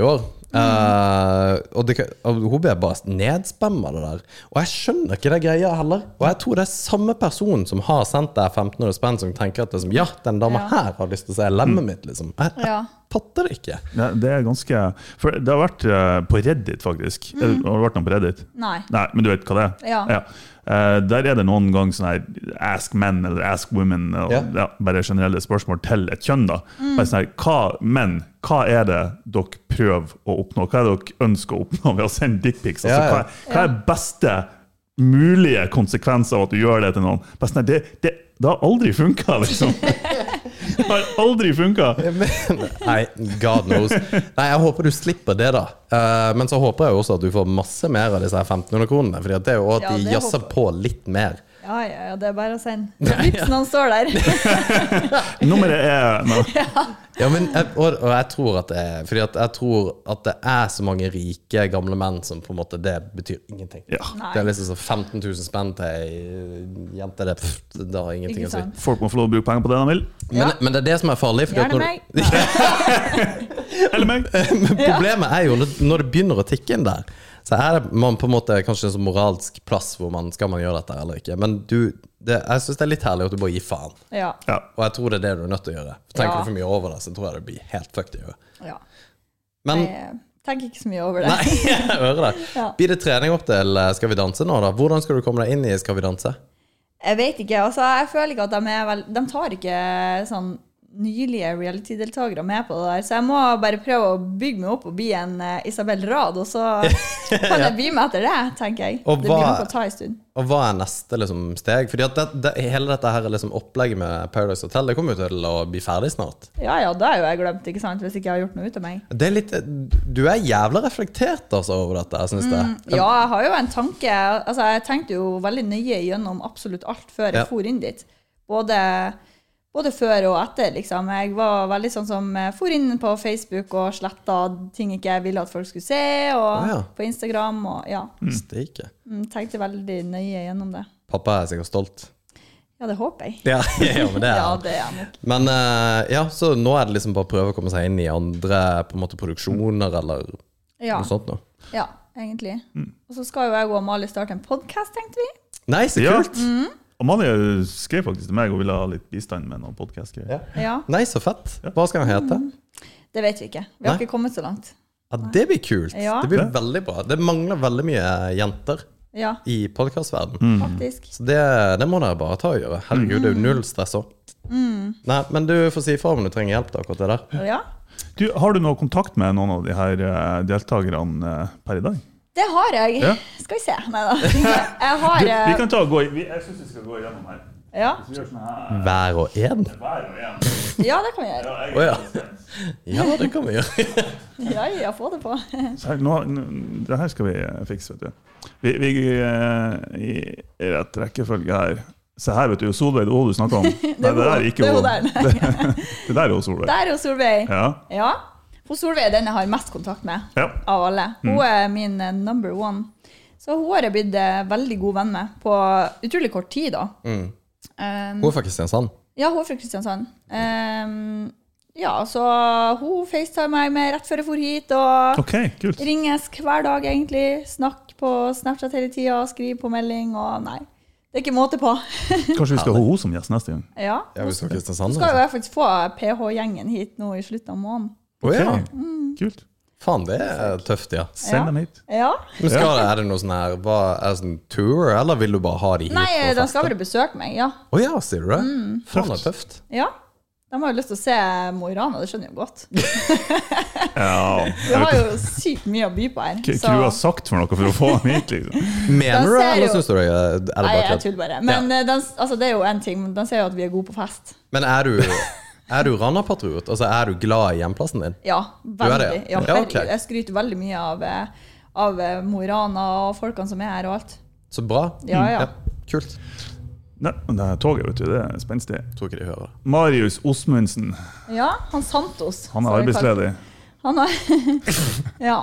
C: år, eh, og, det, kan- og hun blir bare nedspamma det der. Og jeg skjønner ikke det greia heller. Og jeg tror det er samme person som har sendt deg 1500 spenn, som tenker at liksom, ja, den dama
E: Ja.
C: her har lyst til å se lemmet mitt, liksom. Jeg, jeg
E: Ja.
C: fatter det ikke.
D: Nei, Det er ganske For det har vært eh, på Reddit, faktisk. Har det vært noe på Reddit?
E: Mm. Nei.
D: Nei, men du vet hva det er?
E: Ja.
D: Eh, der er det noen ganger sånn her ask men eller ask women, og, ja.
C: Ja.
D: bare generelle spørsmål til et kjønn. da.
E: Mm.
D: Bare sånn her, hva, Men hva er det dere prøver å oppnå? Hva er det dere ønsker å oppnå ved å sende dickpics? Altså,
C: Ja, ja.
D: hva, hva er beste mulige konsekvenser av at du gjør det til noen? Bare sånn her, det, det, det har aldri funka,
E: *laughs*
D: liksom. det har aldri funka.
C: Men, nei, god knows. Nei, Jeg håper du slipper det, da. Eh, men så håper jeg jo også at du får masse mer av disse her 1500 kronene. Fordi at det er jo også at
E: Ja,
C: de
E: det
C: jazzer
E: håper-
C: på litt mer.
E: Ja, ja, ja, det er bare
C: *laughs*
E: å sende. Vipsen, han står der.
D: Nummeret er Nei.
C: Ja, men, jeg, og, og jeg tror at det er Fordi at jeg tror at det er så mange rike, gamle menn som på en måte Det betyr ingenting.
D: Ja.
E: Nei.
C: Det er liksom sånn 15 000 spenn til ei jente. Det, pff, det har ingenting
E: Ikke
C: å si.
E: sant?
D: Folk må få lov å bruke penger på det de vil.
C: Men,
E: Ja.
C: men det er det som er farlig. Fordi at
E: Gjerne
C: når,
E: meg.
C: du-
D: Eller
C: *laughs*
D: meg.
C: Men problemet er jo når, når det begynner å tikke inn der, så er det man på en måte kanskje en sånn moralsk plass hvor man skal man gjøre dette eller ikke. Men du, det, jeg syns det er litt herlig at du bare gir faen.
E: Ja.
D: Ja.
C: Og jeg tror det er det du er nødt til å gjøre. For tenker
E: Ja.
C: du for mye over det, så tror jeg det blir helt fucked i huet.
E: ja.
C: Men
E: Jeg tenker ikke så mye over
C: *laughs*
E: det.
C: Nei, jeg hører det.
E: Ja.
C: Blir det trening opp til eh, Skal vi danse nå, da? Hvordan skal du komme deg inn i Skal vi danse?
E: Jeg vet ikke. altså Jeg føler ikke at de er vel De tar ikke sånn nylige reality-deltakere med på det der, så jeg må bare prøve å bygge meg opp og bli en eh, Isabel Rad, og så
C: *laughs*
E: kan jeg bli med etter det, tenker jeg.
C: Og
E: det blir
C: hva-
E: nok å ta en stund.
C: Og hva er neste liksom, steg? Fordi at det, det, hele dette her liksom, opplegget med Paradise Hotel Det kommer jo til å bli ferdig snart.
E: Ja ja, da er jo jeg glemt, ikke sant, hvis ikke jeg har gjort noe ut av meg.
C: Det er litt, du er jævla reflektert altså, over dette, jeg syns det.
E: Ja, jeg har jo en tanke. Altså, jeg tenkte jo veldig nøye gjennom absolutt alt før jeg
C: Ja.
E: for inn dit. Både Både før og etter, liksom. Jeg var veldig sånn som eh, for inn på Facebook og sletta ting ikke jeg ville at folk skulle se, og
C: Å, ja.
E: på Instagram og ja.
C: Steike.
E: Mm, Tenkte veldig nøye gjennom det.
C: Pappa er sikkert stolt.
E: Ja, det håper jeg.
C: Ja, *laughs* ja men det er
E: Ja,
C: han.
E: det er jeg nok.
C: Men eh, ja, så nå er det liksom bare å prøve å komme seg inn i andre på en måte produksjoner eller
E: Ja,
C: noe sånt noe.
E: ja egentlig. Og så skal jo jeg og Amalie starte en podkast, tenkte vi.
C: Nei, så
D: Ja.
C: kult!
D: Amalie skrev faktisk til meg og ville ha litt bistand med noen podkast-greier.
E: Ja,
C: Nei, så fett. Hva skal han hete?
E: Mm. Det vet vi ikke. Vi har
C: Nei.
E: ikke kommet så langt.
C: Ja, det blir kult.
E: Ja.
C: Det blir veldig bra. Det mangler veldig mye jenter
E: Ja,
C: i
E: Mm.
C: podkastverdenen.
E: faktisk.
C: Så det, det må dere bare ta og gjøre. Herregud,
E: Mm.
C: det er jo null stress òg. Nei, men du får si ifra om du trenger hjelp til akkurat det der.
E: Ja,
D: Du, har du noe kontakt med noen av de her eh, deltakerne eh, per i dag?
E: det har jeg.
D: Ja.
E: Skal vi se. Nei da. *laughs* Jeg har
D: Du, vi
E: eh,
D: kan ta og gå i, vi, Jeg syns vi skal gå igjennom her.
E: ja.
D: Hvis vi gjør sånn her
C: Hver og en?
D: hver og en.
E: ja, det kan vi gjøre.
D: Ja, jeg-
C: Å ja. *laughs* Ja, det kan vi gjøre.
E: Ja, ja, få det på. *laughs*
D: Så her, nå, nå- det her skal vi eh, fikse, vet du. Vi, vi eh, I rett rekkefølge her. Se her, vet du. Solveig, det er hun du snakker om. Nei, *laughs* det der er ikke
E: Det er
D: hun.
E: hun der.
D: *laughs* Det, det der er hun Solveig.
E: Der er jo Solveig.
D: Ja.
E: Ja. Hun Solveig er den jeg har mest kontakt med
D: ja. Mm.
E: av alle. Hun er min eh, number one. Så hun har jeg blitt eh, veldig god venn med på utrolig kort tid, da. Um,
C: Hun er fra Kristiansand.
E: ja, hun er fra Kristiansand. Um, ja, så hun facetimer meg med rett før jeg for hit, og
D: OK, kult.
E: ringes hver dag, egentlig. Snakk på Snapchat hele tida, skriv på melding, og nei. Det er ikke måte på. *laughs*
D: Kanskje vi skal ha henne som gjest neste gang.
E: ja.
C: Ja, hvis hun er fra Kristiansand.
E: skal jo
C: altså.
E: jeg faktisk få PH-gjengen hit nå i slutten av måneden.
C: Å ja.
D: Ok, Kult.
C: Faen, det er tøft, ja.
D: Send
E: Ja.
D: dem hit.
E: Ja.
C: Men skal, det- Er det noe sånn her hva, Er det sånn tour, eller vil du bare ha de hit?
E: Nei,
C: og
E: de
C: feste?
E: skal Mm. bare besøke meg, ja.
C: Å ja, sier du det? Faen, det er tøft.
E: ja. De har jo lyst til å se Mo i Rana, det skjønner jeg jo
C: *laughs*
E: godt.
D: Ja.
E: Vi har jo sykt mye å by på her.
D: K- Hva du har sagt for noe for å få dem hit,
E: *laughs*
D: liksom.
C: Mener du det,
E: ser
C: eller
E: jo-
C: syns du det er er det
E: Nei,
C: bare
E: jeg
C: kødd?
E: tuller bare. Men eh, de, altså, det er jo én ting, men de sier jo at vi er gode på fest.
C: Men er du, er du Rana-patriot? Altså, er du glad i hjemplassen din?
E: Ja,
C: er
E: veldig.
C: det, ja?
E: Ja,
C: Ja, ok.
E: herregud. Jeg skryter veldig mye av, eh, av eh, Mo i Rana og folkene som er her og alt.
C: Så bra.
E: Ja, ja.
C: Kult.
D: Nei, men det her toget, vet du, det er spenstig.
C: Tror ikke de hører det.
D: Marius Osmundsen,
E: Ja, han Santos.
D: han
E: som
D: er
E: vi kaller-
D: arbeidsledig.
E: Han har *laughs* Ja.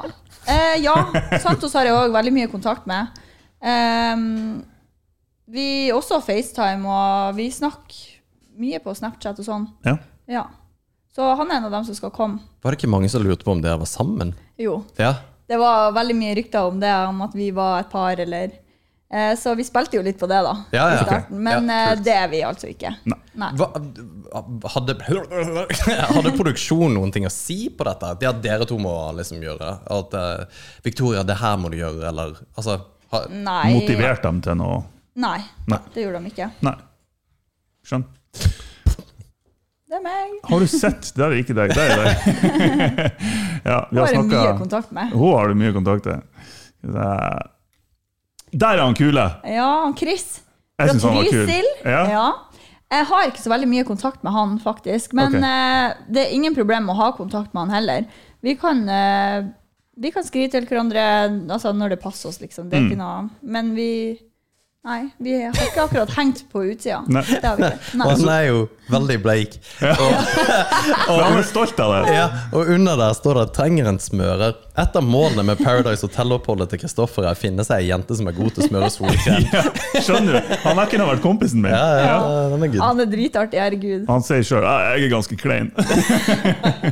E: Eh, ja, Santos har jeg òg veldig mye kontakt med. Ehm, vi også har FaceTime, og vi snakker mye på Snapchat og sånn.
D: Ja.
E: Ja. Så han er en av dem som skal komme.
C: Var det ikke mange som lurte på om dere var sammen?
E: Jo.
C: Ja.
E: Det var veldig mye rykter om det, om at vi var et par, eller eh, Så vi spilte jo litt på det, da.
C: Ja, ja.
E: I starten. Men
C: Ja,
E: eh,
C: kult.
E: det er vi altså ikke. Nei.
C: Hva, hadde, hadde produksjonen noen ting å si på dette? At ja, dere to må liksom gjøre det. At eh, Victoria, det her må du gjøre, eller altså ha,
E: Nei.
D: Motivert dem til noe
E: Nei,
D: Nei.
E: det gjorde de ikke.
D: Nei. Skjønn.
E: Det er meg.
D: Har du sett? Der er ikke deg, der
E: *laughs*
D: er deg. ja, vi har
E: Hun har jeg mye
D: snakka
E: kontakt med.
D: Hun har du mye kontakt til. Det- Der er han kule!
E: Ja, han Chris.
D: Jeg
E: Fra
D: syns han var kul.
E: Trysil.
D: Ja.
E: Ja. Jeg har ikke så veldig mye kontakt med han, faktisk. Men
D: Ok.
E: eh, det er ingen problem å ha kontakt med han heller. Vi kan, eh, vi kan skrive til hverandre altså, når det passer oss, liksom. Det er
D: Mm.
E: ikke noe Men vi Nei, vi har ikke akkurat hengt på utsida.
D: Nei.
E: Det har
D: *laughs*
E: vi ikke.
C: Og han
E: Nei.
C: er jo veldig bleik. Og,
D: Men han er stolt av det.
C: ja, og under der står det 'trenger en smører'. Et av målene med Paradise Hotel-oppholdet til Kristoffer er å finne seg ei jente som er god til å smøre solkrem.
D: *laughs* Ja, skjønner du? Han er ikke noe vært kompisen min.
C: Ja, ja, den er good.
E: Han er dritartig, herregud.
D: Han sier sjøl 'jeg er ganske
E: *laughs*
D: klein'.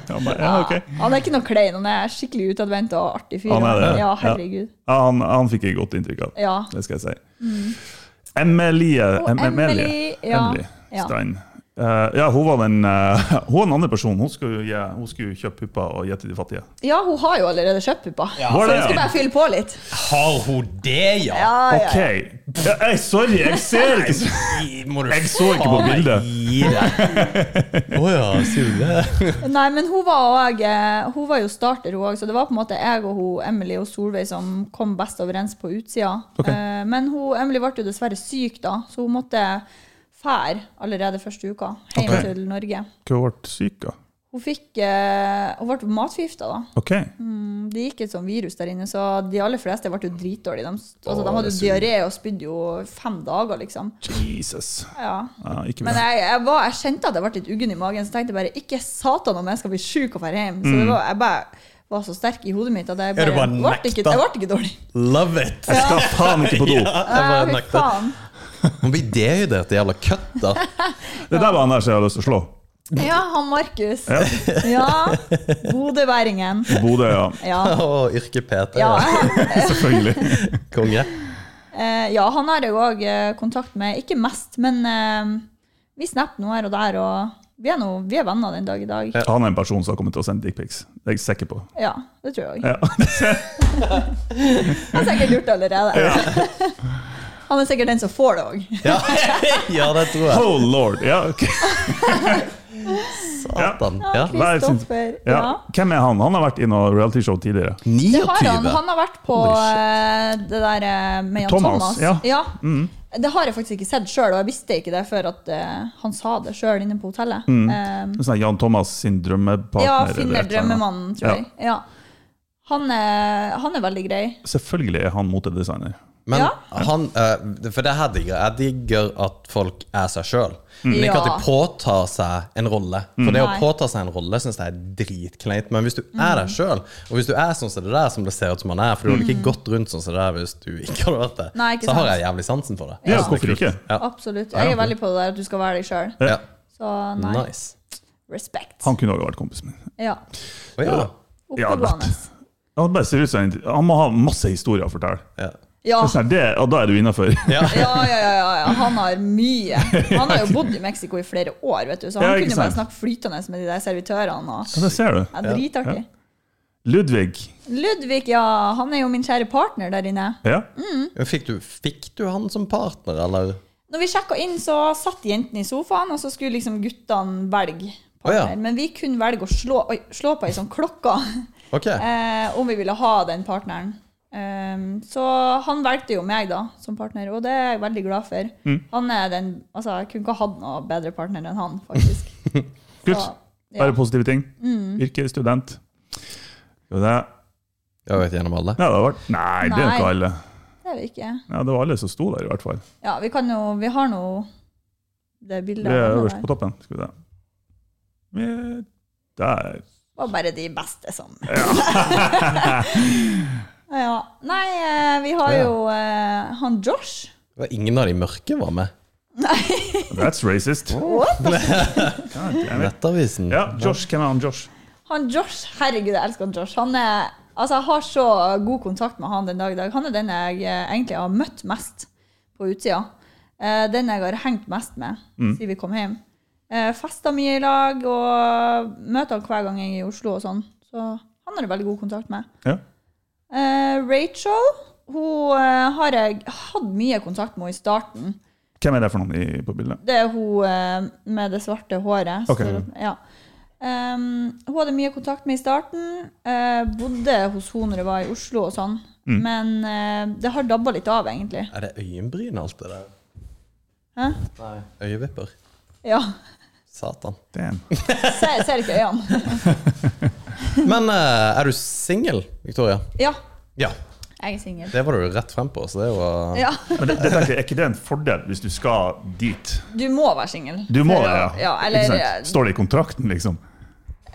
D: han bare, ja, Ah, ok.
E: Han er ikke noe klein, han er skikkelig utadvendt og artig fyr.
D: Han er det.
E: Ja,
D: Ja.
E: herregud.
D: Ja, han, han fikk jeg godt inntrykk av.
E: Ja.
D: Det skal jeg si. Emelie
E: Og
D: em, Emelie.
E: Emily, ja.
D: Emily
E: Ja.
D: Stein. Eh, ja, hun var den eh, Hun var den andre personen. Hun skulle, gi- hun skulle kjøpe pupper og gi til de fattige.
E: Ja, hun har jo allerede kjøpt puppa, så
D: Var det,
E: hun skal
D: ja?
E: bare fylle på litt.
C: Har hun det, ja?
E: Ja, ja,
D: OK! Ja, ei, sorry, jeg ser ikke så- Jeg så ikke på bildet.
C: Å ja, sier du det?
E: Nei, men hun var, også, eh, hun var jo starter, hun òg, så det var på en måte jeg og hun, Emily og Solveig som kom best overens på utsida.
D: Ok.
E: Eh, Men hun, Emily ble jo dessverre syk, da, så hun måtte fære allerede første uka hjem
D: Ok.
E: til Norge.
D: Hun ble syk, da.
E: Hun fikk eh, Hun ble matforgifta, da.
D: Ok.
E: Mm, Det gikk et sånn virus der inne, så de aller fleste ble jo dritdårlige. De, altså,
C: Åh,
E: de hadde
C: det
E: jo
C: er
E: diaré og spydde jo fem dager, liksom.
D: Jesus.
E: Ja.
D: Ja, ikke
E: Men
D: bra.
E: jeg, jeg, var, jeg kjente at jeg ble litt uggen i magen, så tenkte jeg bare ikke satan om jeg skal bli sjuk og dra hjem. Så det var, jeg bare var så sterk i hodet mitt at jeg
C: Mm. Ja, du
E: bare,
C: bare
E: ble, ikke,
C: nekta.
E: jeg ble ikke dårlig.
C: Love it!
D: Jeg skal faen ikke på do!
E: Ja,
C: Jeg bare
E: fy
C: nekter.
E: faen.
C: Hun blir dehydrert, jævla køtta.
D: Det der var han der som jeg hadde lyst til å slå.
E: Ja, han Markus.
D: Ja.
E: Ja. Bodøværingen.
D: Bodø,
E: *laughs*
D: ja.
E: Ja.
C: *laughs* Og yrke Peter.
E: Ja, jeg, har-
D: Selvfølgelig.
C: Konge.
E: Eh, ja, han har jeg òg kontakt med. Ikke mest, men eh, vi snapper nå her og der, og vi er, nå- vi er venner den dag i dag.
D: Han er en person som har kommet til å sende dickpics. Det er jeg sikker på.
E: Ja, det tror jeg òg.
D: Ja.
E: Han er sikkert gjort det allerede. *laughs* Han er sikkert den som får det òg.
C: Ja. *laughs* ja, det tror jeg.
D: Oh lord! Ja, ok.
C: Satan. Ja.
D: Hver sin-
E: Kristoffer.
D: ja.
E: Ja.
D: Hvem er han? Han har vært i noe realityshow tidligere.
E: Det har han.
C: 29.
E: Han har vært på
D: Holy shit.
E: eh, det der eh, med Jan
D: Thomas,
E: Thomas.
D: ja. Mm.
E: Det har jeg faktisk ikke sett sjøl, og jeg visste ikke det før at eh, han sa det sjøl inne på hotellet. Eh,
D: En Sånn Jan Thomas sin drømmepartner.
E: ja,
D: eller
E: finner
D: et eller annet.
E: drømmemannen, tror jeg. Ja. Han, er, han er veldig grei.
D: Selvfølgelig er han motedesigner.
C: Men
E: Ja.
C: han eh, For det her digger jeg. Jeg digger at folk er seg sjøl. Men ikke at
E: Mm. Ja. Mm.
C: de påtar seg en rolle. For det å
E: Nei. Mm.
C: påta seg en rolle syns jeg er dritkleint. Men hvis du er deg sjøl, og hvis du er sånn som det der som det ser ut som han er, for du hadde ikke gått rundt sånn som det der hvis du ikke hadde vært det,
E: Mm. Nei, ikke
C: så har
E: sant.
C: jeg jævlig sansen for det.
D: Ja,
C: Jeg synes det er
D: hvorfor
C: kult.
D: ikke?
C: Ja.
E: Absolutt. Jeg er veldig på det der at du skal være deg sjøl.
C: Ja.
E: Så nei.
C: Nice.
E: Respekt.
D: Han kunne også vært kompisen min.
E: Ja.
C: Å, ja.
D: Ja,
E: Oppegående.
D: lett. Han, bare ser ut som en, han må ha masse historier å fortelle.
C: Ja.
E: Ja.
D: Det er sånn, det, og da er du innafor.
C: Ja.
E: Ja, ja, ja, ja, ja. Han har mye. Han har jo bodd i Mexico i flere år, vet du, så
D: *laughs*
E: han
D: Ja, ikke
E: kunne jo bare
D: sant.
E: snakke flytende med de der servitørene. Og,
D: Ja, det ser du.
E: ja, dritartig.
D: Ludvig.
E: Ludvig, ja. Han er jo min kjære partner der inne.
D: Ja.
E: Mm.
C: Fikk, du, fikk du han som partner, eller?
E: Når vi sjekka inn, så satt jentene i sofaen, og så skulle liksom guttene velge.
C: Å, ja.
E: partner. Men vi kunne velge å slå, oi, slå på ei sånn klokka
C: Ok.
E: *laughs* eh, om vi ville ha den partneren. Ehm, så han valgte jo meg da som partner, og det er jeg veldig glad for.
D: Mm.
E: Han er den, altså Jeg kunne ikke hatt noe bedre partner enn han, faktisk.
D: *laughs* Kult.
E: Så, ja. Mm,
D: Bare positive ting. Yrke, student. Jo, det,
C: Jeg har vært gjennom alle.
D: ja, det har vært Nei, det er jo
E: Nei.
D: ikke alle.
E: Det er vi ikke.
D: Ja, det var alle som sto der, i hvert fall.
E: Ja, vi kan jo Vi har nå det bildet.
D: Vi er
E: av
D: øverst
E: henne
D: på
E: der.
D: toppen. Skal vi se. Vi- Der.
E: Det var bare de beste som *laughs* Ja. Nei, eh, vi har jo eh, han Josh.
C: Det var ingen av de mørke var med.
D: That's racist. God damn it.
C: Nettavisen.
D: Ja, Josh. Hvem er han Josh?
E: Han Josh, herregud, jeg elsker han Josh. Han er, altså, jeg har så god kontakt med han den dag i dag. Han er den jeg eh, egentlig har møtt mest på utsida. Eh, Den jeg har hengt mest med siden vi kom hjem. Eh, Festa mye i lag og møter han hver gang jeg er i Oslo og sånn. Så han har jeg veldig god kontakt med.
D: Ja.
E: Eh, Rachel hun eh, har jeg hatt mye kontakt med i starten.
D: Hvem er det for noen i, på bildet?
E: Det er hun eh, med det svarte håret.
D: Ok.
E: Så, ja. Ehm, hun hadde mye kontakt med i starten. eh, bodde hos henne når jeg var i Oslo og sånn.
D: Mm.
E: Men eh, det har dabba litt av, egentlig.
C: Er det øyenbryn, alt det der?
E: Hæ?
C: Nei. Øyevipper.
E: Ja.
C: Satan.
D: Damn.
E: Ser, ser ikke øynene. *laughs*
C: Men eh, er du singel, Victoria?
E: Ja,
C: Ja.
E: jeg er singel.
C: Det var du rett frem på, så det var
E: Ja.
D: *laughs* Men det, det tenker jeg, Er ikke det en fordel hvis du skal dit?
E: Du må være singel.
D: Du må
E: For
D: det, ja.
E: å- ja
D: Ikke
E: eller eh,
D: sant? Står det i kontrakten, liksom?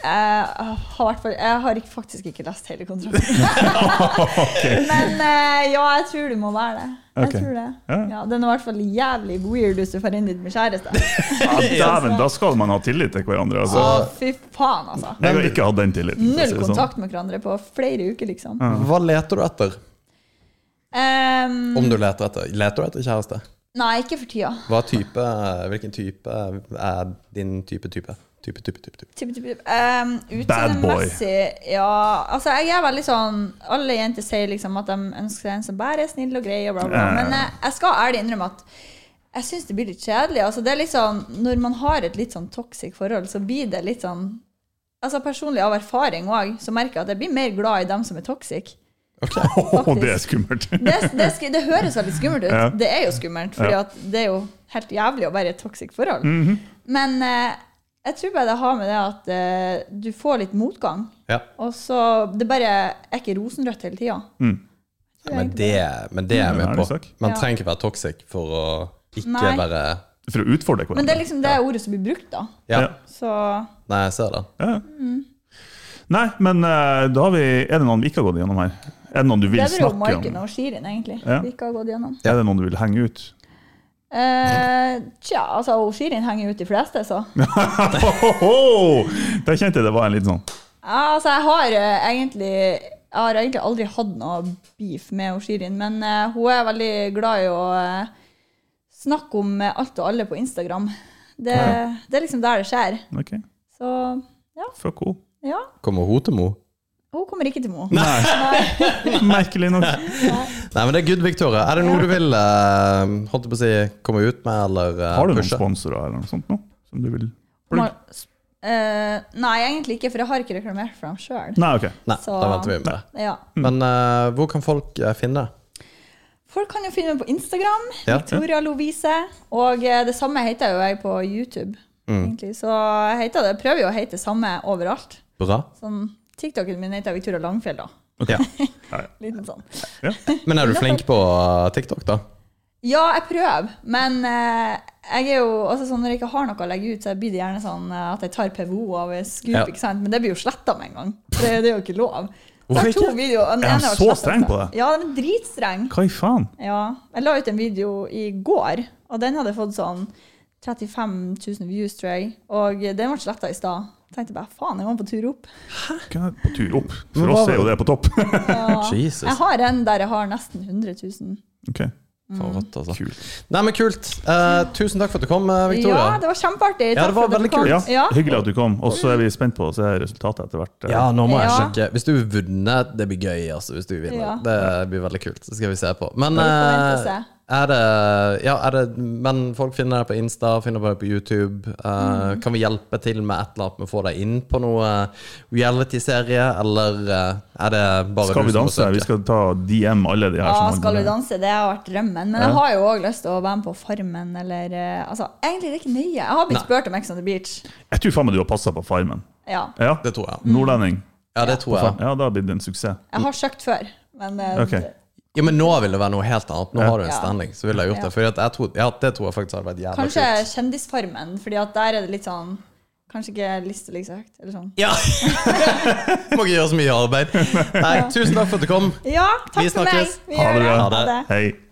E: Jeg har, hvert fall- jeg har ikke, faktisk ikke lest hele
D: *laughs*
E: *laughs* kontrakten. Men eh, ja, jeg tror du må være det. Jeg
D: Ok.
E: tror det.
D: Ja.
E: Ja, den er i hvert fall jævlig weird hvis du får inn dit med
D: *laughs*
E: kjæreste. *laughs*
D: Ja, dæven, da skal man ha tillit til hverandre. Altså.
E: Å, fy faen, altså.
D: Jeg har ikke hatt den tilliten. for å si
E: Null
D: det sånn.
E: kontakt med hverandre på flere uker, liksom.
C: Hva leter du etter?
E: Ehm,
C: Om du leter etter Leter du etter kjæreste?
E: nei, ikke for tida.
C: Hva type eh, Hvilken type er din type type? Type, type, type, type.
E: Typ, typ, typ. Ehm,
D: boy.
E: Utseendemessig, ja Altså, jeg er veldig sånn Alle jenter sier liksom at de ønsker en som bare er snill og grei, og bla, bla. bla. Men eh, jeg, jeg skal ærlig innrømme at jeg syns det blir litt kjedelig. Altså, det er litt sånn Når man har et litt sånn toxic forhold, så blir det litt sånn Altså Personlig av erfaring òg, så merker jeg at jeg blir mer glad i dem som er toxic.
D: *laughs* Å, det er skummelt.
E: *laughs* Det, det, sk- det høres veldig skummelt ut.
D: Ja.
E: Det
D: Mhm.
E: er jo skummelt, for det er jo helt jævlig å være i et toxic forhold. Men eh, Jeg tror bare det har med det at eh, du får litt motgang.
C: Ja.
E: Og så Det bare er ikke rosenrødt hele tida.
D: Mm.
C: Men det, men det er jeg
D: Det er en
C: med
D: ærlig
C: på.
D: sak.
C: Man
E: Ja.
C: trenger ikke være toxic for å ikke
E: Nei.
C: være
D: For å utfordre
E: Men det er
D: hverandre.
E: liksom det ordet som blir brukt, da.
C: Ja.
D: Ja.
E: Så
C: Nei, jeg ser det.
D: Ja. Nei, men eh, da har vi, er det noen vi ikke har gått gjennom her? Er det noen du vil
E: det er jo
D: snakke
E: Martin
D: om?
E: og Shirin, egentlig,
D: Ja.
E: vi ikke har gått gjennom.
D: Er det noen du vil henge ut?
E: *laughs* Eh, tja, altså, og Shirin henger jo ut de fleste, så.
D: Ohoho! Der kjente jeg det var en liten sånn
E: Ja, altså, jeg har eh, egentlig jeg har egentlig aldri hatt noe beef med hun Shirin, men eh, hun er veldig glad i å eh, snakke om eh, alt og alle på Instagram. Det, det er liksom der det skjer.
D: Ok,
E: Så ja,
D: fuck henne.
E: ja.
C: Kommer hun til Mo?
E: Hun kommer ikke til Mo.
D: Merkelig nok.
C: Nei, men det er good, Victoria. Er det noe du vil eh, holdt jeg på å si, komme ut med eller eh,
D: Har du noen
C: pushe?
D: sponsorer eller noe sånt nå? Som du vil
E: Ma- eh, nei, egentlig ikke, for jeg har ikke reklamert for dem sjøl.
D: Nei, ok.
C: Nei,
E: Så-
C: da venter vi med det.
E: Ja.
D: Mm.
C: Men eh, hvor kan folk eh, finne det?
E: Folk kan jo finne meg på Instagram,
C: Ja.
E: Victoria Lovise. Og eh, det samme heter jo jeg på YouTube.
C: Mm.
E: egentlig. Så jeg heter det, prøver jo å hete det samme overalt.
C: Bra.
E: Sånn, TikToken min heter Victoria Langfjell, da.
C: Ja.
E: Liten sånn.
C: Men er du flink på eh, TikTok, da?
E: Ja, jeg prøver, men eh, jeg er jo, altså sånn, når jeg ikke har noe å legge ut, så blir det gjerne sånn eh, at jeg tar PVO av Scoop,
C: Ja.
E: ikke sant? men det blir jo sletta med en gang. For det, det er jo ikke lov. Så
C: Hvorfor
E: jeg har to
C: ikke?
E: videoer, den
D: Er han
E: ene ble
D: så
E: slettet,
D: streng på
E: så-
D: det?
E: Ja, den er dritstreng.
D: Hva i faen?
E: Ja, jeg la ut en video i går, og den hadde fått sånn 35 000 views, tror jeg. Og den ble sletta i stad. Tenkte bare faen, jeg må på tur opp.
D: Hva er på tur opp?
C: Men
D: For
C: hva
D: oss er jo det på topp. *laughs*
C: Jesus.
E: Jeg har en der jeg har nesten 100 000.
D: Ok,
C: Faen, rått, altså.
D: kult.
C: Nei, men kult. Eh, tusen takk for at du kom, eh, Victoria.
E: Ja, det var kjempeartig.
C: Ja, det var
E: for at
C: veldig
E: dere kom.
C: kult.
D: Ja,
E: Ja.
D: hyggelig at du kom. Og så er vi spent på å se resultatet etter hvert.
C: Ja, nå må jeg
E: Ja.
C: sjekke. Hvis du vunner, det blir gøy, altså. Hvis du vinner.
E: Ja.
C: Det blir veldig kult. Så skal vi se på. Men,
E: Ja, vi får vente og
C: eh,
E: se.
C: er det, ja, er det, men folk finner deg på Insta, finner deg på YouTube. Eh,
E: Mm.
C: Kan vi hjelpe til med et eller annet med å få deg inn på noe eh, reality-serie, eller eh, er det bare
D: Skal
C: du
D: vi
C: som må
D: danse?
C: søke?
D: Vi skal ta DM alle de her.
E: Ja,
D: som har-
E: Skal vi danse? Det har vært drømmen. Men jeg har jo òg lyst til å være med på Farmen eller eh, Altså, egentlig er det ikke nøye. Jeg har blitt spurt om Ex on the Beach.
D: Jeg tror faen meg du har passa på Farmen.
E: Ja.
D: Ja,
C: Det tror jeg.
D: Nordlending.
C: Ja, det tror jeg.
D: Ja, da blir det en suksess.
E: Jeg har søkt før, men eh,
D: Ok.
C: Ja, men nå vil det være noe helt annet. Nå har du en
E: Ja.
C: standing, så ville jeg gjort det. Fordi at jeg tror, ja, det tror jeg faktisk hadde vært jævla
E: kanskje
C: kult.
E: Kjendisfarmen, Fordi at der er det litt sånn Kanskje ikke lista like så høyt, eller sånn.
C: Ja! *laughs* Må ikke gjøre så mye arbeid. Nei, tusen takk for at du kom.
E: Ja, takk
C: Vi
E: for meg.
C: snakkes.
E: Vi
D: Ha
E: gjør
D: det
E: det.
D: bra.
C: Ha det.
D: Hei.